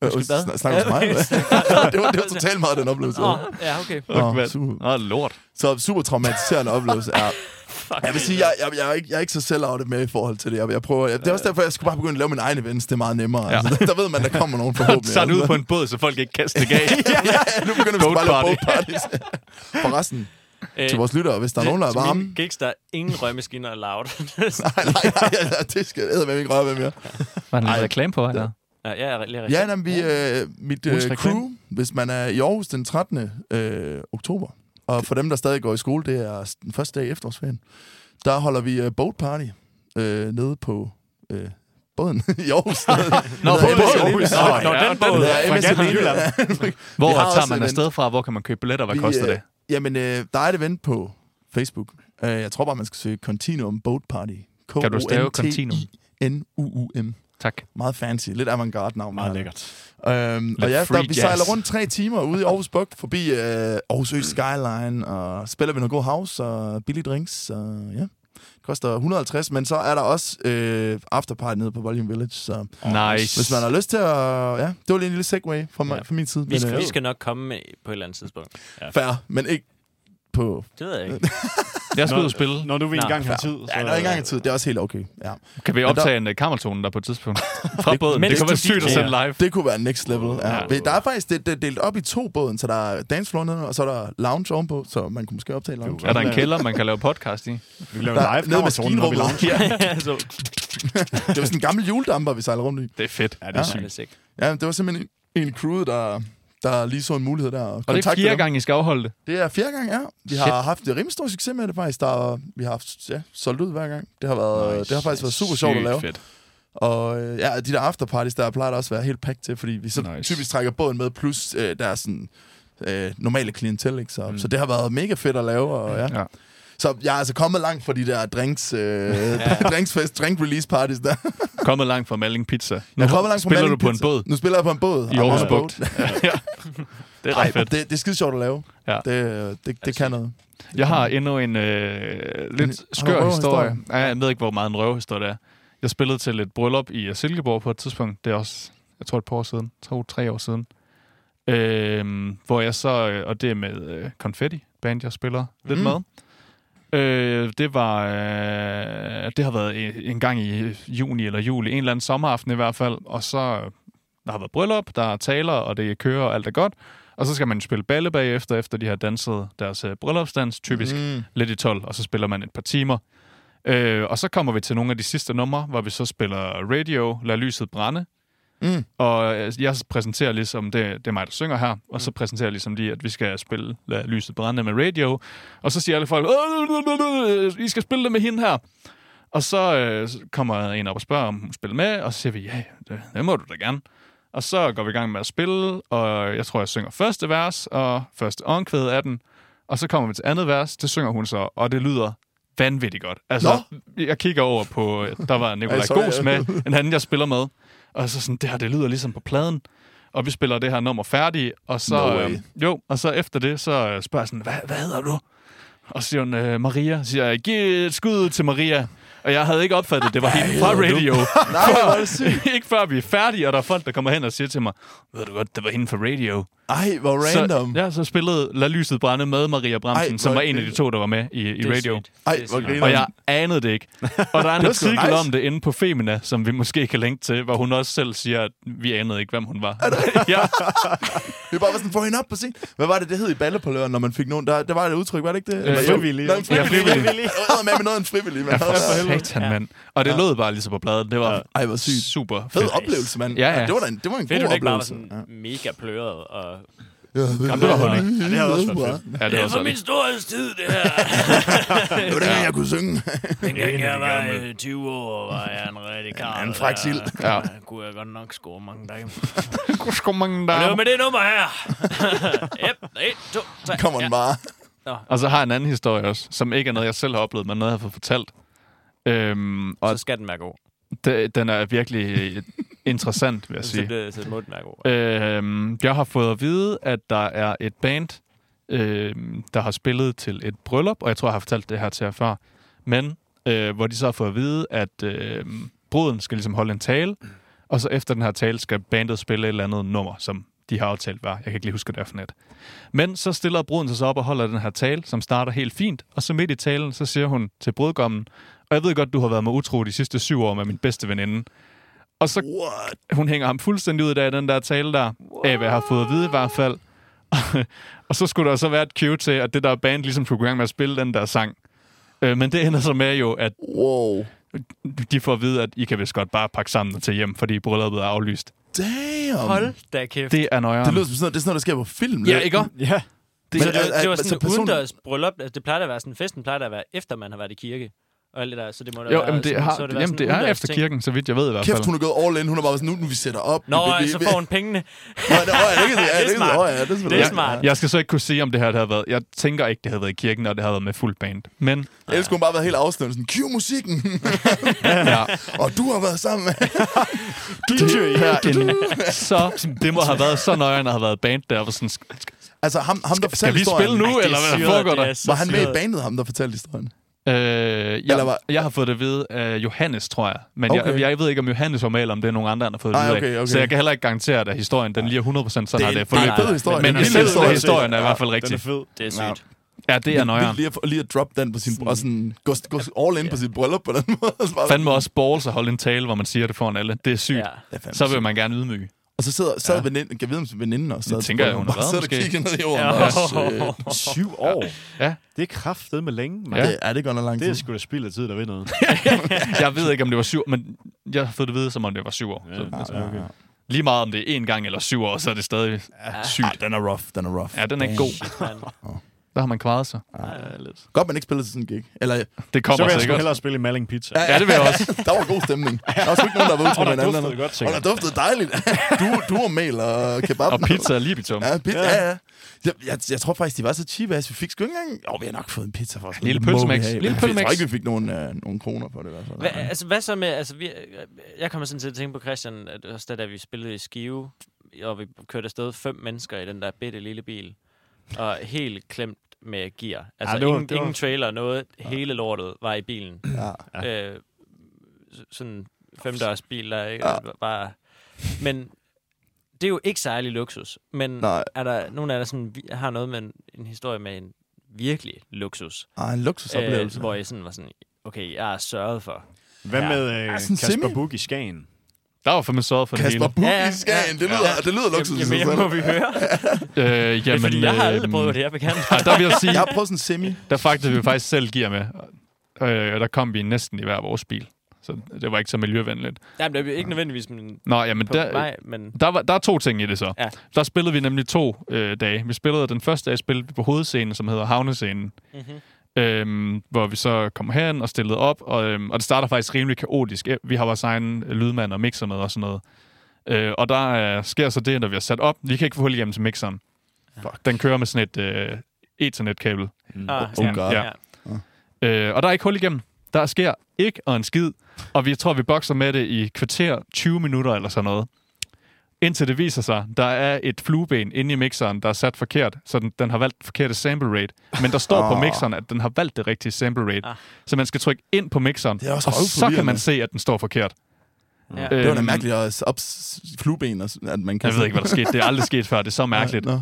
Øh,
hvad?
snak- Snakker du til mig? eller hvad? det, var, det var totalt meget den oplevelse.
åh,
Oh.
ja, okay.
Fuck,
Åh,
mand.
super.
Åh, lort.
Så super traumatiserende oplevelse. Ja.
Fuck.
Jeg vil sige, jeg, jeg, jeg, er ikke, jeg er ikke så selv det med i forhold til det. Jeg, jeg prøver, jeg, det er også derfor, jeg skulle bare begynde at lave mine egne events. Det er meget nemmere. Ja.
Ja.
Altså, der ved man, der kommer nogen forhåbentlig.
Så er du ude på en båd, så folk ikke kan stikke af.
ja, nu begynder vi
Boat
bare at lave
party.
boat parties. Forresten,
Øh,
til vores lyttere, hvis der er nogen, der er
til mine
varme.
gigs, der er ingen røgmaskiner allowed.
Nej, nej, nej, nej, det skal jeg med ikke røre ved mere.
Var der
Ej.
en reklame på vej der?
Nå, jeg er lige rigtig.
Ja, jamen, vi, øh, mit øh,
Ugens reklame.
crew, hvis man er i Aarhus den 13. Øh, oktober, og for dem, der stadig går i skole, det er s- den første dag i efterårsferien, der holder vi øh, boat party øh, nede på øh, båden i Aarhus. Nå,
båden i
Aarhus.
Nå, den båd.
Ja, MS
Fregatten
Elena.
Jylland.
Hvor
Vi har
tager
også
man
en
afsted fra? Hvor kan man købe billetter? Hvad
Vi,
koster
øh,
det?
Jamen, øh, der er et event på Facebook. Øh, jeg tror bare, man skal søge Continuum Boat Party. k
Kan du stave Continuum?
n u u m
Tak.
Meget fancy. Lidt avantgarde navn.
Meget
man har.
lækkert.
Øhm, og ja,
free
der, vi
jazz.
sejler rundt tre timer ude i Aarhus Bugt, forbi øh, Aarhus Ø Skyline, og spiller vi noget god house og billige drinks. Og, ja. Koster 150, men så er der også øh, afterparty nede på Volume Village. Så
Nice.
hvis man har lyst til at... Ja, det var lige en lille segway fra, mig,
Ja.
fra min side.
Vi skal,
øh,
vi skal nok komme med på et eller andet tidspunkt.
Fair, men ikke på...
Det ved jeg ikke.
Jeg skal
Når-
ud og spille.
Når du vil
Nå,
engang har tid.
Ja, der er ikke engang en tid. Det er også helt okay. Ja.
Kan vi
Men der-
optage en uh, kammertone der på et tidspunkt? Fra båden.
mens
Det kunne
du
være sygt at
DJ'er.
sende live.
Det kunne være next level. Ja.
Ja.
Ja. Der er faktisk det, det er delt op i to båden, så der er dancefloor nedenunder, og så er der lounge ovenpå, så man kunne måske optage lounge.
Det kunne
Er der en kælder, man kan lave podcast i?
Vi laver
Der-
live
nede med
kammertonen op i
skinrummet.
lounge.
så,
Det var sådan en gammel juledamper, vi sejlede rundt i.
Det er fedt.
Ja, det er
ja,
sygt.
det er sikkert.
Ja, men det var simpelthen en, en crew, der, der lige så en mulighed der.
Og det er fire gange, I skal afholde det.
Det er fjerde gang, ja. Vi
Shit.
Shit. har haft rimelig stor succes med det faktisk. Der, vi har haft ja, solgt ud hver gang. Det har, været, nice. det har faktisk været super sjovt at
Sygt
lave.
fedt.
Og øh, ja, de der afterparties, der plejer der også at være helt pakket til, fordi vi så
Nice.
nice. typisk trækker båden med, plus øh, der er sådan øh, normale klientel, ikke? Så, mm. så det har været mega fedt at lave, og ja.
Ja.
ja. Så jeg er altså kommet langt fra de der drinks, øh, drinksfest, drink release parties der.
Kommet langt fra Malling Pizza. Nu
Jeg er kommet langt fra
spiller du
Malling
på en
Pizza.
båd
Nu spiller jeg på en båd.
i
I'm on
Aarhus
a boat.
Bugt. Ja. Det er ret
Ej,
fedt.
det, det er skide sjovt at lave.
Ja.
Ja. Det, det, det kan noget.
Jeg har endnu en øh, lidt
har
skør
du
historie.
røverhistorie?
Ja, jeg ved ikke, hvor meget en røvehistorie det er. Jeg spillede til et bryllup i øh, Silkeborg på et tidspunkt. Det er også, jeg tror, et par år siden. To-tre år siden. Øhm, hvor jeg så, øh, og det er med øh, Confetti, band jeg spiller lidt
Mm.
med. Øh, det var, øh, det har været en- en gang i juni eller juli, en eller anden sommeraften i hvert fald. Og så, øh, der har været bryllup, der er taler, og det kører, og alt er godt. Og så skal man spille balle bagefter, efter de har danset deres øh, bryllupsdans, typisk
Mm.
lidt i 12, og så spiller man et par timer. Øh, og så kommer vi til nogle af de sidste numre, hvor vi så spiller radio, Lad lyset brænde,
Mm.
og øh, jeg præsenterer ligesom, det, det er mig, der synger her, og så præsenterer jeg ligesom lige, at vi skal spille Lad lyset brænde med radio, og så siger alle folk, "Øh, øh, øh, øh, I skal spille det med hende her. Og så øh, så kommer en op og spørger, om hun spiller med, og så siger vi, ja, det, det må du da gerne. Og så går vi i gang med at spille, og jeg tror, jeg synger første vers, og første omkvæd af den, og så kommer vi til andet vers, det synger hun så, og det lyder vanvittigt godt. Altså, jeg kigger over på, der var Nikolaj
Ej, sorry.
Gos med, en anden, jeg spiller med, og så sådan, det her, det lyder ligesom på pladen, og vi spiller det her nummer færdigt, og så,
No way.
øh, jo, og så efter det, så øh, spørger jeg sådan, hvad, hvad hedder du? Og så siger hun, øh, Maria, Så siger jeg, giv et skud til Maria. Og jeg havde ikke opfattet, at det var hende fra radio.
Nej, hvor er det sygt.
ikke før vi er færdige, og der er folk, der kommer hen og siger til mig, ved du godt, det var hende fra radio.
Ej, hvor random.
Så, ja, så spillede Lad Lyset Brænde med Maria Bramsen,
Ej,
som var
hvor er
en af
det-
de to, der var med i, i
Det er
radio.
sygt.
Ej,
Det er
hvor
sygt.
griner
Og jeg anede det ikke. Og der er en
Det var sgu
artikel
nice.
om det inde på Femina, som vi måske kan linke til, hvor hun også selv siger, at vi anede ikke, hvem hun var. ja,
Vi bare var sådan, få hende op på scenen. Hvad var det, det hed i ballepaløren, når man fik nogen? Der, der var et udtryk, var det ikke det? Eller jo.
frivillige.
Nå, en
Ja,
frivillig.
frivillige.
Jeg var med med noget af en frivillig, mand.
for satan,
Ja.
mand. Og det lød bare ligesom på bladen. Det var
Ej, hvor sygt.
super
Fed
fedt.
oplevelse, mand.
Ja, ja.
Det var da en, det var en
Fedt, du
god
ikke bare var
oplevelse.
sådan mega pløret. Og...
Ja,
Jamen, det var hun ikke.
Ja, det havde også været fedt.
Ja, det var sådan.
storhedstid, det her.
Det var dengang, jeg kunne synge.
Dengang jeg var øh, 20 år, var jeg en rigtig karl.
en fræk
der-
sild.
Ja.
Kunne jeg godt nok score mange dage.
Sgu mange
Og det var
dage.
med det nummer her. Yep, 1, 2, 3.
Kommer den bare.
Og så har jeg en anden historie også, som ikke er noget, jeg selv har oplevet, men noget, jeg har fået fortalt. Øhm, og
Så skal den være god.
d- den er virkelig øh, interessant, vil jeg
Så,
sige.
det, så må den være god.
Øhm, jeg har fået at vide, at der er et band, øhm, der har spillet til et bryllup, og jeg tror, jeg har fortalt det her til jer før, men øh, hvor de så har fået at vide, at øh, bruden skal ligesom holde en tale, og så efter den her tale skal bandet spille et eller andet nummer, som de har aftalt var. Jeg kan ikke lige huske, hvad det er for net. Men så stiller bruden sig så op og holder den her tale, som starter helt fint, og så midt i talen, så siger hun til brudgommen, og jeg ved godt, du har været med utro de sidste syv år med min bedste veninde. Og så
What?
hun hænger ham fuldstændig ud af den der tale der, af hvad jeg har fået at vide i hvert fald. og så skulle der så være et cue til, at det der band ligesom skulle gå i gang med at spille den der sang. Øh, men det ender så med jo, at
Wow.
de får at vide, at I kan vist godt bare pakke sammen og tage hjem, fordi brylluppet er aflyst.
Damn!
Hold da kæft. Det,
Det er nøjeren.
Det lyder som sådan noget, det er sådan noget, der sker på film.
Ja, ikke også?
Ja.
det, så
men
det,
er-
var- det
er-
var
altså
sådan et
personen-
udendørs bryllup. Altså, det plejer da at være sådan, festen plejer da at være efter, man har været i kirke. Og alt det der, så det må da
Jo,
være,
jamen det,
sådan-
har,
så
det,
været
jamen,
sådan
det er
udendørs
efter
ting.
kirken, så vidt jeg ved i hvert fald.
Kæft, hun er gået all in. Hun er bare sådan, nu, nu vi sætter op.
Nå,
vi, vi,
så får hun pengene.
Nå, det, åh, er det, ikke det, ja,
Det er
det, er
smart.
det, åh, ja, det, er
Det er
selvfølgelig-
smart.
Jeg skal så ikke kunne sige, om det her det havde været... Jeg tænker ikke, det havde været i kirken, og det havde været med fuld band. Men
Jeg elsker, hun bare har været helt afstående. Sådan, cue musikken.
ja,
og du har været sammen med...
det er en, så, det må have været så nøjeren at have været band der. Var sådan,
altså, ham, ham der
skal
fortalte
vi
historien.
spille nu,
det er
eller hvad
syret,
foregår
det
der?
er så
Var han med i
syret.
bandet, ham der fortalte historien?
Øh,
Eller
jeg,
var-
jeg har fået det at vide af Johannes, tror jeg. Men okay.
Okay.
jeg, jeg ved ikke, om Johannes var med, eller om det er nogen andre, der har fået det
Ej,
videre.
okay, okay.
Så jeg kan heller ikke garantere, at historien den lige er 100% sådan,
Det
det,
er
har
en-
det
det er en
forløbet.
fed historie.
Men,
Det er
men
en fed
selve
historie.
historien er i hvert fald
Den
rigtig.
er fed.
Det er
Ja.
sygt.
Ja, det er nøjeren.
Lige, lige, lige at droppe den på sin... Og sådan, gå, gå all in på sit bryllup på den måde. Og så bare-
Fandme også balls at holde en tale, hvor man siger det foran alle. Det er sygt.
Ja.
Ja, fandme
Så vil man gerne ydmyge.
Og så sidder, sad ja. veninden, kan jeg vide, om veninden også sad
Det
til
tænker jeg,
bordet,
hun har
bare
været,
sidder og
måske.
kigger ned i jorden.
Ja.
og bare, øh,
Syv år.
Ja.
Det er kraftet med længe, man.
Ja.
Ja.
Det er det godt nok lang
Det er
tid.
sgu da spild af tid, der ved noget.
Jeg ved ikke, om det var syv, men jeg har fået det at vide, som om det var syv år.
Ja,
Så, altså,
ja, okay.
lige meget om det er én gang eller syv år, så er det stadig sygt.
Ah, den er rough, den er rough.
Ja, den er ikke god.
Man.
Der har man kvaret sig.
Ja, lidt.
Godt, man ikke spillede til sådan en gig. Eller,
Det
Så
kommer altså
vil jeg sgu
sikkert.
hellere spille i Malling Pizza.
Ja, det vil jeg også.
der var god stemning. Der var sgu ikke nogen, der var utro
Og
med
der
hinanden.
duftede godt,
Og
tænker
der
jeg.
duftede dejligt. Du, du og mel og kebab.
Og pizza er libitum.
Ja, pizza, ja, ja. Jeg, jeg, jeg tror faktisk, de var så cheap, at vi fik sgu ikke engang... Åh, vi har nok fået en pizza for os.
Lille
Det må vi
pølsemix.
have.
Lille
Jeg
pølsemix.
tror ikke, vi fik nogen, øh, nogen kroner på det. I hvert fald.
Hva, altså, hvad så med... Altså, vi, øh, jeg kommer sådan til at tænke på Christian, at også da, da vi spillede i Skive, og vi kørte afsted fem mennesker i den der bitte lille bil, og helt klemt med gear. Altså, ja,
det var-
ingen,
det var-
ingen trailer, noget. Hele lortet var i bilen.
Ja.
Ja. Øh, s- sådan femdørs bil, der ikke ja. bare... Men det er jo ikke særlig luksus. Men
Nej.
er der nogen af jer, der sådan, vi- har noget med en, en historie med en virkelig luksus?
Ah, en luksusoplevelse.
Øh, hvor jeg sådan var sådan, okay, jeg er sørget for.
Hvad
Ja.
med øh,
Ah, sådan
Kasper
semi.
Bug i Skagen?
Der var fandme sørget for det hele.
Kasper Buk
Ja,
i
ja,
Skagen. Det
ja.
lyder, det lyder luksus. i sig
Jamen, jeg
selv.
må vi høre.
Øh,
Jamen,
jamen,
fordi jeg har aldrig
øhm,
prøvet det, jeg vil gerne.
Ej, der vil jeg sige,
Jeg har prøvet sådan en semi.
der faktisk vi faktisk selv gear med. Øh, og der kom vi næsten i hver vores bil. Så det var ikke så miljøvenligt.
Jamen, det er jo ikke nødvendigvis min,
Nå, jamen,
på der,
der,
mig, men...
der, var, der er to ting i det så.
Ja.
Der spillede vi nemlig to øh, dage. Vi spillede den første dag spillede vi på hovedscenen, som hedder Havnescenen.
Mm-hmm.
øhm, hvor vi så kom hen og stillede op, og, øhm, og det starter faktisk rimelig kaotisk. Ja, Vi har vores egen øh, lydmand og mixer med og sådan noget. Øh, og der øh, sker så det, når vi har sat op. Vi kan ikke få hul igennem til mixeren. Fuck. Den kører med sådan et øh, ethernet-kabel.
Ah,
Oh God.
Ja. Øh, og der er ikke hul igennem. Der sker ikke og en skid. Og vi tror, vi bokser med det i kvarter 20 minutter eller sådan noget. Indtil det viser sig, der er et flueben inde i mixeren, der er sat forkert, så den, den har valgt den forkerte sample rate. Men der står på
Ah.
mixeren, at den har valgt det rigtige sample rate.
Ah.
Så man skal trykke ind på mixeren,
Det er også
og så kan man
røvforvirrende.
se, at den står forkert.
Ja.
Det var da
Øhm,
mærkeligt at op flueben, og sådan, at man kan...
Jeg ved ikke, hvad der skete. Det er aldrig sket før. Det er så mærkeligt.
Nå.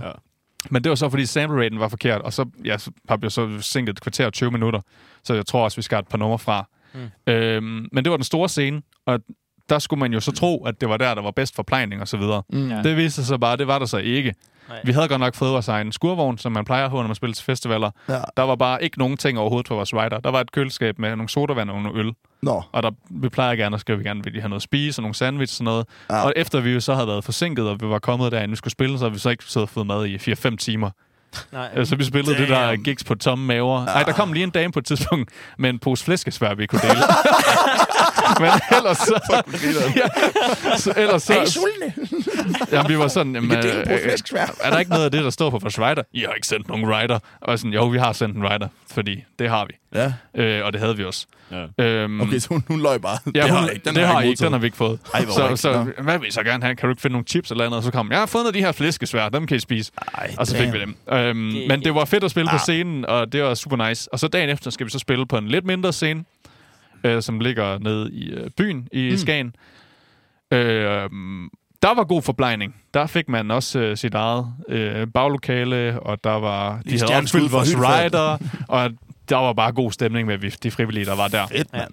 Men det var så, fordi sample raten var forkert, og så, ja, så har vi jo så sinket et kvarter og 20 minutter, så jeg tror også, vi skal have et par numre fra. Mm. Øhm, men det var den store scene, og der skulle man jo så tro, at det var der, der var bedst forplejning og så videre. Mm.
Ja.
Det viste sig bare, det var der så ikke.
Nej.
Vi havde godt nok fået vores egen skurvogn, som man plejer at have, når man spiller til festivaler.
Ja.
Der var bare ikke nogen ting overhovedet på vores rider. Der var et køleskab med nogle sodavand og nogle øl.
Nå.
Og der, vi plejer gerne at skrive, at vi gerne vil have noget at spise og nogle sandwich og sådan noget.
Ja.
Ja. Og efter vi jo så havde været forsinket, og vi var kommet derind, vi skulle spille, så havde vi så ikke siddet og fået mad i 4-5 timer.
Nej.
Øh, Så vi spillede Damn. det der
Damn.
gigs på tomme maver. Nej, der kom lige en dame på et tidspunkt med en pose flæskesvær, vi kunne dele. Men ellers så... ja, så ellers
Er I
så...
sultne?
Jamen, vi var sådan... Jamen,
dele en pose
øh,
flæskesvær."
er der ikke noget af det, der står på vores rider? I har ikke sendt nogen rider. Og jeg var sådan, jo, vi har sendt en rider, fordi det har vi.
Ja.
Øh, og det havde vi også.
Ja.
Øhm,
Okay, så hun, hun løg bare.
Ja, hun,
jeg
det har I ikke, den har
modtaget.
vi ikke fået.
Ej, hvor
så,
rigtigt,
så hvad vil I så gerne have? Kan du ikke finde nogle chips eller andet? Og så kom, jeg har fundet de her flæskesvær, dem kan I spise.
Ej,
Og så fik vi dem. Øhm,
Det-
men det var fedt at spille på scenen, og det var super nice. Og så dagen efter skal vi så spille på en lidt mindre scene, øh, som ligger nede i øh, byen i mm. Skagen. Øh, der var god forplejning. Der fik man også øh, sit eget øh, baglokale, og der var... De havde
stjerneskud
opfyldt
fra
vores
Hylfred.
rider, og der var bare god stemning med vi- de frivillige, der var der.
Fedt, mand.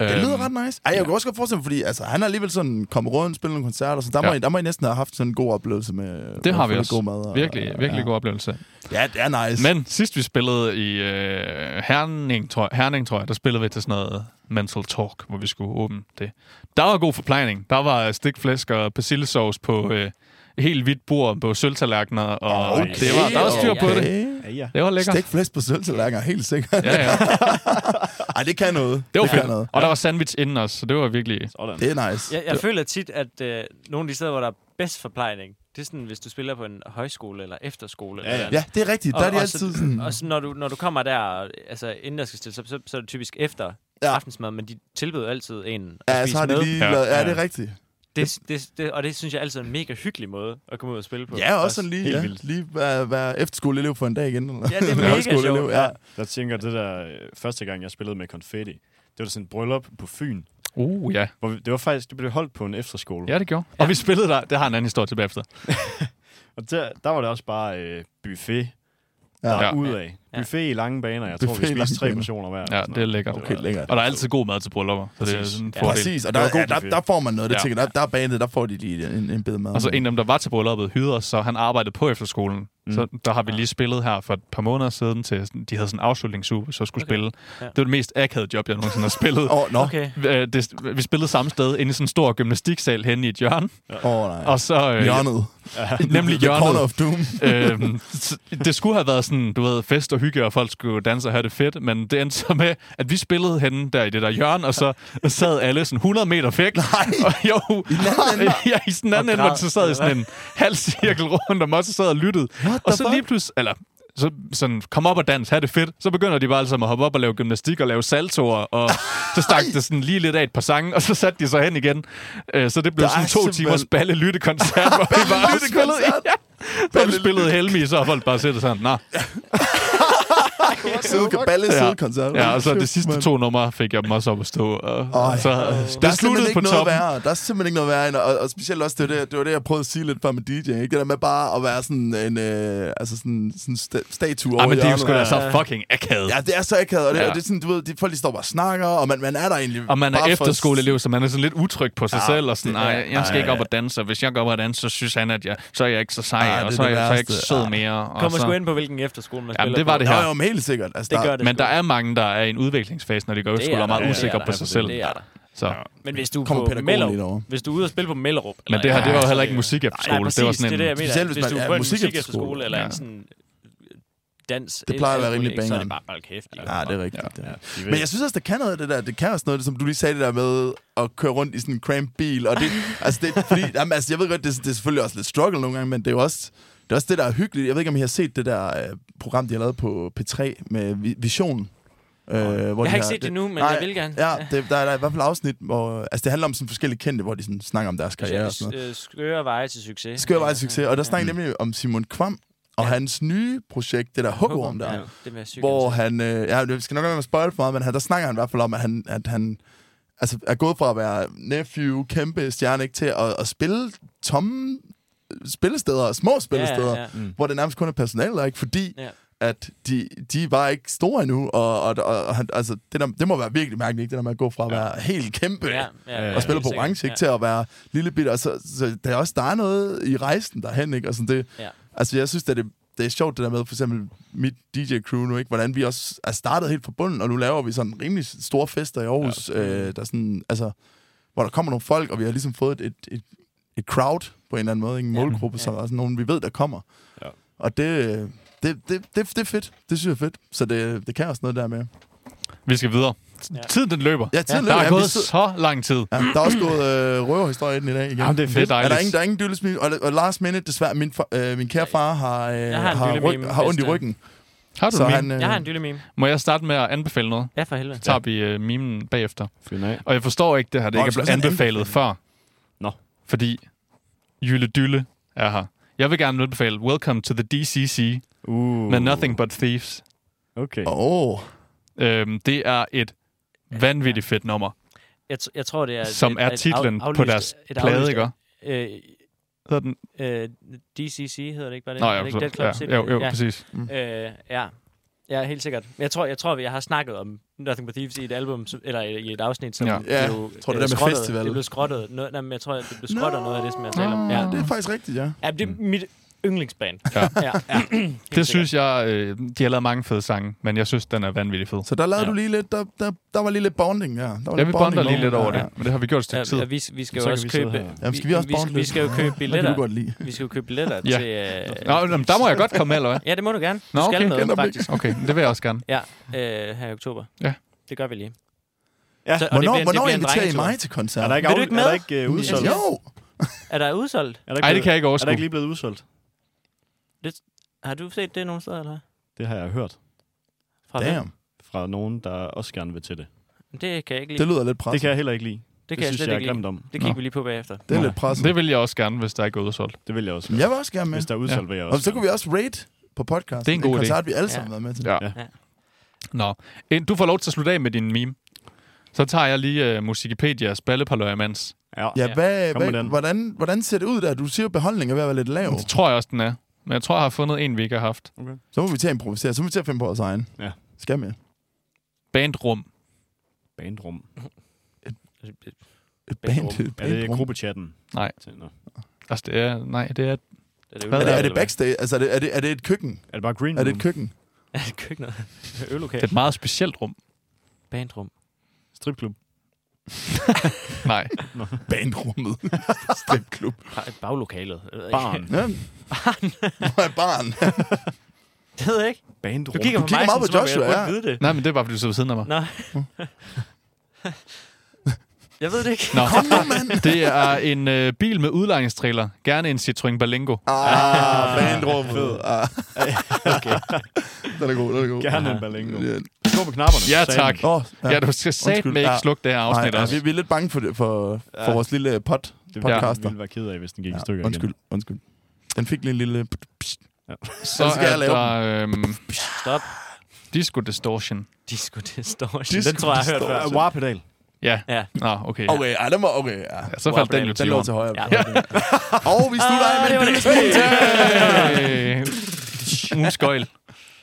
Det
Øhm,
lyder ret nice. Ej, jeg ja. kunne også godt forestille mig, fordi altså, han har alligevel sådan kommet rundt, spillet nogle koncerter, så der, ja.
Ja.
må, I, der må I næsten have haft sådan en god oplevelse med
Det har
med
vi
lidt
også.
God mad og,
Virkelig, virkelig
ja.
god oplevelse.
Ja, det er nice.
Men sidst vi spillede i øh, Herning, tror jeg, Herning, tror jeg, der spillede vi til sådan noget mental talk, hvor vi skulle åbne det. Der var god forplejning. Der var stikflæsk og persillesauce på øh, helt hvidt bord på sølvtallerkener, og
Okay,
okay. det var, der var styr på
okay.
det.
Ja, ja.
Det var lækkert.
Stik flæsk på sølvtallerkener, helt sikkert.
Ja, ja.
Ej, det kan noget.
Det var
det kan
fedt.
noget.
Og der var sandwich inden os, så det var virkelig...
Sådan.
Det er nice.
Jeg, jeg føler tit, at øh, nogle af de steder, hvor der er bedst forplejning, det er sådan, hvis du spiller på en højskole eller efterskole.
Ja,
eller
ja.
andet.
Ja, det er rigtigt. Der er de altid
så,
sådan...
Og så når du, når du kommer der, og- altså inden der skal stille, så, så, så er det typisk efter
Ja.
ja. aftensmad, men de tilbyder altid en at
Ja,
spise
så har
med.
de lige...
Ja.
lavet- Ja, det er rigtigt.
Det, det, det, og det synes jeg altid er en mega hyggelig måde at komme ud og spille på.
Ja, også sådan lige,
Helt
ja,
vildt.
lige være, være efterskoleelev for en dag igen. Eller?
Ja, det er
Eller
mega
højskoleelev,
sjovt,
Ja.
ja.
Der tænker jeg, det der øh, første gang, jeg spillede med konfetti, det var sådan et bryllup på Fyn.
Uh, ja.
Hvor vi, det var faktisk, det blev holdt på en efterskole.
Ja, det gjorde. Og vi spillede der. Det har en anden historie tilbage efter.
Og der, der var det også bare øh, buffet
Ja.
der
Ja.
ud af.
Ja.
Buffet i lange baner. Jeg
Buffet i
tror, vi
lange
spiste tre
baner.
portioner hver.
Ja, det er lækkert.
Okay, lækkert.
Og der er altid god mad til bryllupper, så det er
Præcis.
sådan en
Ja.
fordel.
Præcis, og
Det
der,
var god
ja, der,
buffet.
der får man noget. Det
Ja.
tænker, jeg, der, der er bandet, der får de lige en, en bid mad.
Og så en af dem, der var til brylluppet, hyrede os, så han arbejdede på efterskolen.
Mm.
Mm. Så der har vi lige spillet her for et par måneder siden, til sådan- de havde sådan en afslutningsuge, så skulle
Okay.
okay. spille.
Ja.
Ja. Det var det mest akavede job, jeg nogensinde har spillet.
Åh, oh, nå. No.
Okay.
Øh, det, vi spillede samme sted inde i sådan en stor gymnastiksal henne i et hjørne.
Åh, nej.
Og så, øh,
Hjørnet.
nemlig
The Corner
hjørnet.
of Doom.
øhm, så det skulle have været sådan, du ved, fest og hygge, og folk skulle danse og have det fedt, men det endte så med, at vi spillede henne der i det der hjørne, og så sad alle sådan 100 meter væk.
Nej.
Og jo,
I den anden ende?
ja, i sådan en anden
Og
ende,
græd,
og så sad i sådan en halv cirkel rundt om os, og sad og lyttede.
What
Og
the
så
fuck?
lige pludselig, eller så sådan, kom op og dans, have det fedt. Så begynder de bare alle sammen at hoppe op og lave gymnastik og lave saltoer, og så stak det sådan lige lidt af et par sange, og så satte de sig hen igen. Øh, Så det blev
Der
sådan to simpelthen...
er simpelthen-
timers balle lyttekoncert, hvor vi bare spillede i.
Ballelyttekoncert?
Ja. Når vi spillede Helmi, så har folk bare siddet sådan, nej.
Sidde kan balle sidde koncert.
Ja, og så de sidste to numre fik jeg dem også op at stå. Og,
Ej.
så
Der
det
er simpelthen
sluttede
ikke
på
noget
toppen.
værre. Der er simpelthen ikke noget værre, end, og, og specielt også, det var det, det var det, jeg prøvede at sige lidt før med DJ, ikke? Det der med bare at være sådan en, øh, altså sådan, sådan sta- statue
Ej,
over
Ah, men det er jo
hjørnet.
sgu da så fucking akavet.
Ja, det er så akavet, og det, ja.
Ja.
og det er sådan, du ved, de, folk de står bare og snakker, og man, man er der egentlig
Og man er
bare for-
efterskoleelev, så man er sådan lidt utryg på sig
Ja,
ja, selv, og sådan,
det er-
nej, jeg skal
ej,
ikke op og danse, og hvis jeg går op og danse, så synes han, at jeg, så er jeg ikke så sej,
Ja, det er
og så er,
det
jeg, så er jeg ikke
værste.
så sød
Ja.
mere. Og
Kommer
så,
sgu ind på, hvilken efterskole man
Jamen,
spiller
det var
på.
det
Nå, jo,
her.
men helt sikkert. Altså,
Det
der,
gør det
Men der
sgu.
er mange, der er i en udviklingsfase, når de går i skole, og er meget
der. Det
usikre
der
på sig
for
selv.
Det er der.
Så.
Men hvis du er
Kommer
på
pædagogen lige
Mellerup,
derover.
hvis du er ude og spille på Mellerup...
Men det her, det var jo heller ikke musik efter
altså, Nej,
skole.
præcis,
Det var sådan
det er
en...
det, jeg mener.
Specielt, hvis
hvis,
man
du
er
er på en
musik-
musik efter
efterskole,
skole, eller
ja.
en sådan øh, dans...
Det plejer at være rimelig
Så er
bangeren.
det bare hold kæft. ikke?
Ja, det er rigtigt. Ja.
Ja,
Ja.
de ved-
Men jeg synes også, det kan noget af det der. Det kan også noget, som du lige sagde det der med at køre rundt i sådan en cramped bil. Og det, altså, det, fordi, jamen, altså, jeg ved godt, det, det er selvfølgelig også lidt struggle nogle gange, men det er jo også det, er også det der er hyggeligt. Jeg ved ikke, om I har set det der øh, program, de har lavet på P3 med Vi- Vision. Øh, hvor de
Jeg har ikke set det nu, men
Nej,
jeg vil gerne.
Ja, det, der, er, der er i hvert fald afsnit, hvor altså, det handler om sådan forskellige kendte, hvor de sådan, snakker om deres karriere og sådan noget.
Øh, Skøre veje til succes.
Skør vej til succes. Og der snakker jeg nemlig om Simon Kvam og hans nye projekt, det der Hugorm der.
Ja, det vil jeg sygt
hvor
gerne se.
han... Øh, ja, det skal nok være med at spoil for meget, men han, der snakker han i hvert fald om, at han, at han altså, er gået fra at være nephew, kæmpe stjerne, ikke, til at, at spille tomme spillesteder, små spillesteder, ja,
ja.
ja, ja. hvor det nærmest kun er personale, der, ikke? fordi ja.
Ja.
at de, de var ikke store endnu, og, og, og, og han, altså, det, der, det må være virkelig mærkeligt, ikke? det der med at gå fra at være helt kæmpe
Ja, ja, ja,
Øh, og spille
helt
på
sikkert.
orange, ikke,
Ja.
til at være lille bit, og så, så der er også der er noget i rejsen derhen, ikke? og sådan det,
Ja.
Altså, jeg synes, at det, det er sjovt, det der med for eksempel mit DJ-crew nu, ikke? Hvordan vi også er startet helt fra bunden, og nu laver vi sådan rimelig store fester i Aarhus, ja. øh, der sådan, altså, hvor der kommer nogle folk, og vi har ligesom fået et, et, et, et crowd på en eller anden måde, ikke? en
Ja.
målgruppe, ja. som er sådan nogen, vi ved, der kommer.
Ja.
Og det, øh, det, det, det, det er fedt. Det synes jeg er fedt. Så det, det kan også noget der med.
Vi skal videre.
Ja.
Tiden, den løber.
Ja, tiden
Der
løber.
er
Ja, vi
gået
sidder-
så lang tid.
Ja, der er også gået øh, røverhistorie i den i dag igen.
Jamen, det er fedt. Det er
Er
dejligt.
der ingen, der er ingen dyllesmil? Og, og last minute, desværre, min, fa- øh, min kære far har, øh,
Jeg
har,
har en
har,
dyllememe,
ryg, har ondt i
hvis det er.
ryggen.
Har du
Så
en
han,
meme?
øh,
Jeg har en dylle meme.
Må jeg starte med at anbefale noget?
Ja, for helvede.
Så tager vi øh, memen bagefter.
Fynd af.
Og jeg forstår ikke det her, det ikke
Nå,
er
det er
blevet
sådan en
anbefalet før.
Nå.
Fordi Jylle Dylle er her. Jeg vil gerne anbefale Welcome to the DCC
Uh.
med Nothing But Thieves.
Okay.
Åh, oh,
Øhm, det er et vanvittigt fedt nummer,
Jeg, tr- jeg tror, det er...
som
et-
er
et
titlen
af- aflyst-
på deres
et
plade,
aflyst-
ikke? også?
Øh,
Hedder den?
øh, DCC hedder det ikke, var det?
Nå,
Er
ja,
det ikke Dead Club
så,
City?
ja, jo, jo,
ja.
præcis.
Øh, ja. Ja, helt sikkert. Men Jeg tror, jeg tror, jeg har snakket om Nothing But Thieves i et album, som, eller i i et afsnit, som
Ja.
ja.
Ja,
blev,
jeg tror, det er
øh,
der med
skrottet.
festival.
Det blev skrottet. Noget, nej, men jeg tror, at det blev skrottet noget af det, som jeg taler om. Ja,
Det er faktisk rigtigt, ja.
ja det er mit yndlingsband.
Ja.
ja, ja.
Det synes jeg, øh, de har lavet mange fede sange, men jeg synes, den er vanvittig fed.
Så der lavede
Ja.
du lige lidt, der, der, der var lige lidt bonding her. Der var
Ja,
lidt
vi bonder lige
bonding
lidt over
over.
det, men det har vi gjort et stykke
Ja,
tid.
ja, vi, vi skal
Så
jo
kan
også
vi sidde
købe...
her.
Jamen, skal vi også bonde
vi, vi
lidt?
skal jo købe
Det kan du
billetter.
godt lide.
Vi skal jo købe billetter
Ja.
til... Øh,
Nå, jamen, der må jeg godt komme, eller hvad?
ja, det må du gerne. Du
Nå, okay,
skal
kender
noget,
mig.
faktisk.
Okay, det vil jeg også gerne.
Ja, øh, her i oktober.
Ja.
Det gør vi lige.
Ja.
og det
Hvornår,
bliver- det
hvornår
bliver en
inviterer I
drengetur.
mig til koncert?
Er der ikke,
Vil
af,
du ikke
er
med?
der ikke uh, udsolgt?
Jo!
Er der udsolgt?
Er der ikke
Nej, det
blevet-
kan jeg ikke
Er der
overskue.
ikke lige blevet udsolgt?
Har du set det nogen steder, eller hvad?
Det har jeg hørt
Fra hvem?
Damn.
fra nogen, der også gerne vil til det.
Det kan jeg ikke lide.
Det
Det,
lyder lidt
Det
presset.
kan jeg heller ikke lide. Det,
det kan jeg
synes
slet
jeg,
ikke
er
lide.
grimt om.
Det kigger
Nå.
vi lige på bagefter.
Det er
Nå,
lidt presset.
Det vil jeg også gerne, hvis der ikke er udsolgt.
Det vil jeg også.
Men Jeg vil også gerne med.
Hvis der er udsolgt, vil jeg
Og
også.
så kunne vi også rate på podcast.
Det er en god idé.
koncert, vi alle sammen har været med til.
Ja.
Ja.
ja. Nå, En- du får lov til at slutte af med din meme. Så tager jeg lige uh, Musikipedias ballepaløj imens.
Ja.
Ja,
Ja.
hvad,
Kom med
hvad,
den.
hvordan, hvordan ser det ud der? Du siger jo, beholdningen er ved at være lidt lav.
Det tror jeg også, den er. Men jeg tror, jeg har fundet en, vi ikke har haft.
Så må vi til at improvisere. Så må vi til at finde på vores egen.
Ja.
Skal vi?
Bandrum.
Bandrum.
Altså,
Et band. et
Er det
bandrum.
gruppechatten?
Nej.
Så- nå.
Altså, det er... Nej, det er...
Er
Hvad
det,
Er det, er det
eller hvad?
backstage? Altså, er det, er, det, er det et køkken?
Er det bare Green
Er det
Room?
et køkken?
Er det køkkenet?
Det er et
Øllokal?
meget specielt rum.
Bandrum.
Stripklub.
Nej.
Bandrummet. Stripklub.
Ba- Baglokalet. Jeg ved ikke.
Barn.
Ja. Barn. barn.
Det ved jeg ikke.
Bandrum.
Du kigger på
kigger
mig,
meget på
sådan, som om
Joshua,
jeg burde
ja.
vide det.
Nej, men det er bare, fordi du sidder ved siden af mig.
Nå. jeg ved det ikke.
Nå.
Kom nu, mand.
Det er en øh, bil med udlejningstrailer. Gerne en Citroën Berlingo.
Ah, bandrummet. Ah.
Okay.
Den er god, den er god.
Gerne en Berlingo.
Ja.
Skub på knapperne.
Ja,
sagde
tak.
den.
Åh,
Ja, du skal satme
Undskyld.
ikke
Ja.
slukke det her afsnit
Nej, ja,
også.
vi, vi er lidt bange for, det, for, for
Ja.
vores lille pot,
Det ville jeg
podcaster.
ville være ked af, hvis den gik i
Ja,
stykker
undskyld, undskyld. Den fik lige en lille...
Så
Så skal
er
jeg lave
der øhm,
Stop.
Disco Distortion.
Disco Distortion.
Disco
den tror jeg, jeg har hørt før.
igen. Uh, Warpedal.
Ja.
Ja.
Nå, okay. Ja.
Okay, ja, den var... Okay, ja.
Ja, så faldt den jo
Den
til
lå
jorden.
til højre.
Ja.
Ja. Og vi slutter af
Ah,
med
det var
en
det.
lille smule.
Hey! Ugens gøjl.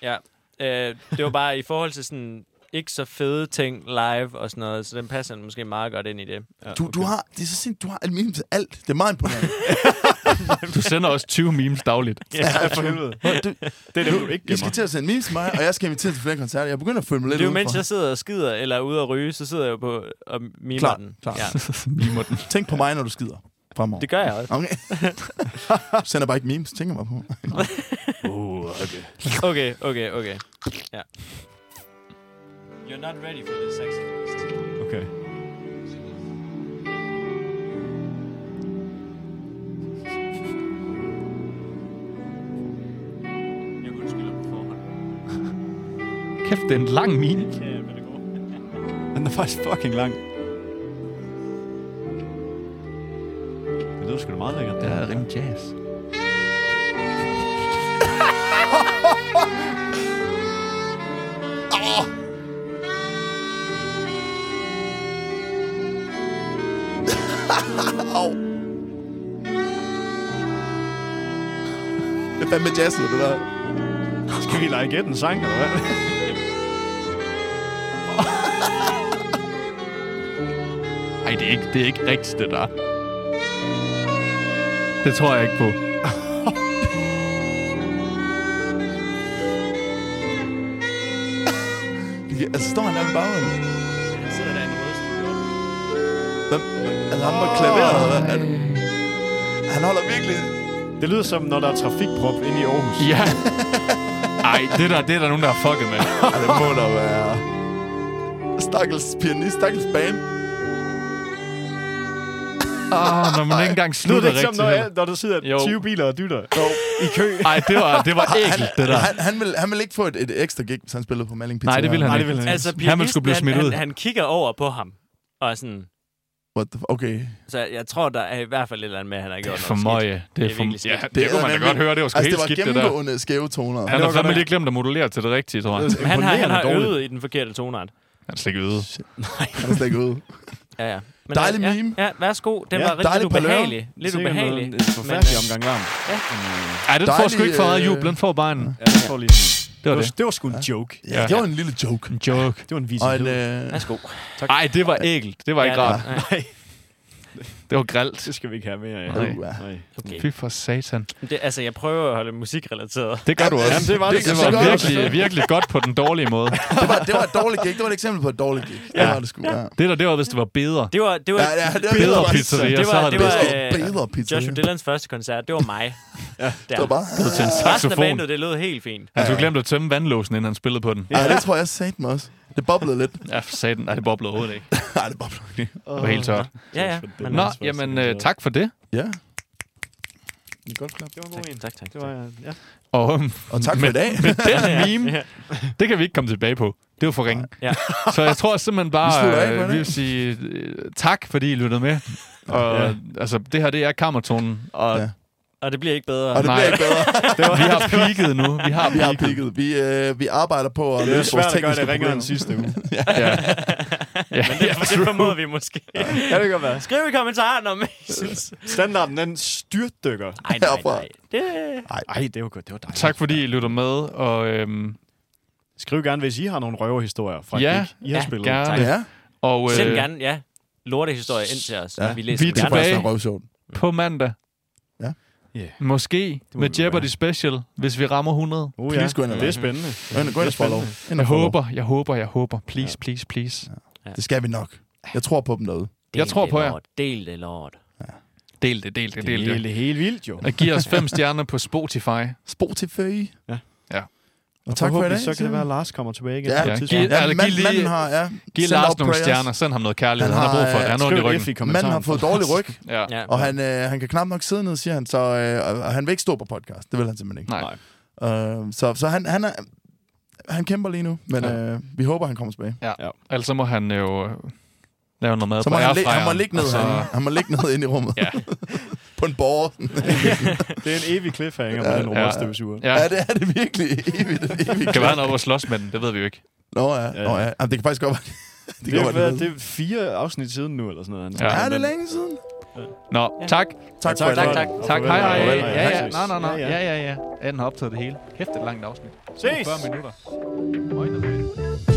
Ja. Øh, det var bare i forhold til sådan ikke så fede ting live og sådan noget, så den passer måske meget godt ind i det.
Du, du har... Det er så sindssygt, du har en mening til alt. Det er meget imponerende.
Du sender også 20 memes dagligt.
Ja, for helvede.
Du,
Det er dem, du ikke
I skal
gemmer.
til at sende memes til mig, og jeg skal invitere til flere koncerter. Jeg begynder at føle mig lidt
Det er jo
udenfor.
mens jeg sidder og skider, eller er ude og ryge, så sidder jeg jo på og mimer
Klart,
den.
klart.
Ja,
Mimer den.
Tænk på mig, når du skider. Fremover.
det gør jeg også.
Okay. Du sender bare ikke memes, tænker mig på.
Uh,
Okay, okay, okay. Ja. You're not ready for this sex.
Okay.
Jeg undskylder på forhånd.
Kæft, det er en lang meme.
Ja, men det går.
Den er faktisk fucking lang. Det lyder sgu da meget lækkert.
Det er rimelig jazz.
Au. Det er fandme jazzet, det der.
Skal vi lege gætte en sang, eller hvad?
Ej, det er ikke, det er ikke rigtigt, det der. Det tror jeg ikke på.
Ja, altså, står han der i baggrunden?
Han sidder der i en rødstudio.
Hvem? Altså, ham på klaveret, eller hvad? Er det- Han holder virkelig...
Det lyder som, når der er trafikprop inde i Aarhus.
Ja. Ej, det der, det er der nogen, der har fucket med.
Ej, det må der være. Stakkels pianist, stakkels band.
Ah, når man ikke engang
Lyder det
slutter
ikke som,
rigtigt.
når,
heller.
jeg, når der sidder
Jo.
jo. 20 biler og dytter i kø?
Ej, det var, det var ægelt, det der.
Han, han, vil, han vil ikke få et, et ekstra gig, hvis han spillede på Malling Pizza.
Nej, det ville han
Nej, det
ikke.
ville han
Altså,
Han ville
pianisten,
skulle blive smidt
han,
ud.
Han, han kigger over på ham, og er sådan...
What the f- okay.
Så jeg tror, der er i hvert fald et eller andet med, at han har gjort
Det er for
noget skidt.
møje. Det
Det
er
er
for
virkelig skidt.
Ja, det, kunne man da
nemlig-
godt høre. Det var sgu
altså,
helt
det var
skidt, det der.
gennemgående skæve toner.
Han har
var
fandme
godt
lige glemt at modulere til det rigtige, tror jeg.
Det
Men han har, han har
Imponerende dårligt.
øvet i den forkerte tonart.
Han er slet ikke øde.
Han er slet ikke ude.
Ja, ja. Men
Dejlig
ja,
meme.
Ja, værsgo. Den
Ja,
var rigtig lidt
dejlig parlør.
ubehagelig. Lidt
Sikkert
ubehagelig.
noget- En forfærdelig
men, øh,
omgang larm.
Ja.
Ej, den får sgu
Dejlig,
ikke for meget
øh,
jubel. Den får bare en...
Ja, den får lige sådan.
Det Det var
var,
det.
det var sgu en joke.
Ja, det var en lille joke.
En joke.
Det var en
Og en,
visenhed.
øh,
Værsgo.
Nej, det var ægelt. Det var ikke rart.
det- nej.
Nej,
Det var gralt.
det skal vi ikke have mere af.
Nej.
Nej.
Okay.
Fy for satan.
Det, altså, jeg prøver at holde musikrelateret.
Det gør du også.
Jamen, det var det,
det
så
var
godt.
virkelig, virkelig godt på den dårlige måde.
det, var, det var et dårligt gig. Det var et eksempel på et dårligt gig. Ja. Det var det sgu. Ja. Ja,
Det der, det var, hvis det var bedre.
Det var, det var,
ja, det var
Bedre
bare-
pizzeria,
det
så
var-
havde
det
det
var-
været
øh,
Bedre pizzeria.
Joshua Dillans første koncert. Det var mig. ja,
Det var bare...
blevet til en
Resten af
saxofon.
bandet, det lød helt fint.
Han skulle glemme at tømme vandlåsen, inden han spillede på den.
Ej, det tror jeg sagde mig også. Det boblede lidt.
Ja, for satan. Nej, det boblede overhovedet ikke.
Nej, det boblede ikke.
Det var helt tørt.
Ja, ja.
Joshua
Nå,
Men,
Dillans første
jamen øh,
koncert.
tak for det.
Ja. Det er godt klap.
Det var en god en.
tak, tak, tak.
Det var, ja.
Og øhm,
Og tak for
med,
i dag.
med den meme, det kan vi ikke komme tilbage på. Det var for ringe.
Ja.
Så jeg tror simpelthen
Vi slutter
bare,
af
øh,
på det.
vi vil sige øh, tak, fordi I lyttede med. Og
Ja.
altså, det her, det er kammertonen. Og
Ja.
Og det bliver ikke bedre.
Og det
Nej.
bliver ikke bedre.
vi har peaked nu. Vi har
Vi har
peaked.
pigget. Vi, øh, vi arbejder på at
Det er
løse vores
svært at gøre
tekniske
det ringere
problemer.
end sidste uge.
Ja. Ja,
Men det, det formoder vi måske.
ja, det kan godt være. Øh,
Skriv i kommentarerne, om I synes...
Standarden, den styrtdykker.
Ej, nej,
Herfra.
nej. Det,
Ej, det var godt. Det var dejligt.
Tak fordi I lytter med, og øhm,
Skriv gerne, hvis I har nogle røverhistorier fra
Ja.
ja. I har
Ja,
spillet.
gerne.
Tak.
Ja,
og
Send
øh,
gerne, ja, lortehistorie ind til os.
Ja.
Ja. Vi læser
Vi er
vi
det er
gerne.
tilbage.
faktisk noget røvsjovt.
på mandag,
Yeah.
måske
må
med
vi
Jeopardy
være.
Special, hvis vi rammer 100.
Oh,
Please gå ind og
Det er
like.
spændende.
Gå ind- Gå ind og follow. Ind
Jeg
og follow.
håber, jeg håber, jeg håber. Please, please, please.
Det skal vi nok. Jeg tror på dem noget.
Jeg tror på jer.
Del det lort.
Del det, del det,
Det er
del det.
helt, helt vildt, jo.
Og giv os fem stjerner på Spotify.
Spotify.
Ja.
Ja.
Og tak for i dag.
så kan det være, at Lars kommer tilbage igen.
Ja.
på
Ja,
et
giv-
tidspunkt.
Ja,
Eller giv
mand,
lige-
manden har... Ja,
Giv
send
Lars
out
nogle
prayers.
stjerner. Send ham noget kærlighed. Han,
Han
har brug for
har,
det. Han har ondt i
øh, Skriv F i
ryggen.
Manden
kommentaren.
har fået dårlig ryg,
Ja.
Ja.
og han, øh, han kan knap nok sidde ned, siger han, så øh, og- og han vil ikke stå på podcast. Det vil han simpelthen ikke.
Nej.
Øh, så så han, han, er, han kæmper lige nu, men
Ja.
øh, vi håber, han kommer tilbage.
Ellers så må han jo øh, lave noget mad på
Så må han, lig-
airfryeren,
han må ligge ned,
og så-
han, han må ligge ned inde i rummet.
Altså- Ja.
på en borger.
Det er en evig cliffhanger
Ja,
med den
ja.
robotstøvsuger.
Ja,
Ja. det er det virkelig. Evigt, evigt.
kan være han er oppe og slås med den. Det ved vi jo ikke.
Nå ja, Nå, ja. Jamen, det kan faktisk godt være.
Det,
Det kan
er,
godt
hvad,
være.
det er fire afsnit siden nu, eller sådan noget.
Ja.
Ja, det er længe siden.
Nå, tak.
Tak,
tak,
for
tak,
det.
tak.
Tak, hej, hej.
Farvel,
Ja,
hej.
ja,
Hej,
nej, nej, nej.
ses.
Ja, ja, ja. Anden har optaget det hele. Kæft, det er et langt afsnit.
Ses!
40 minutter. Øjne.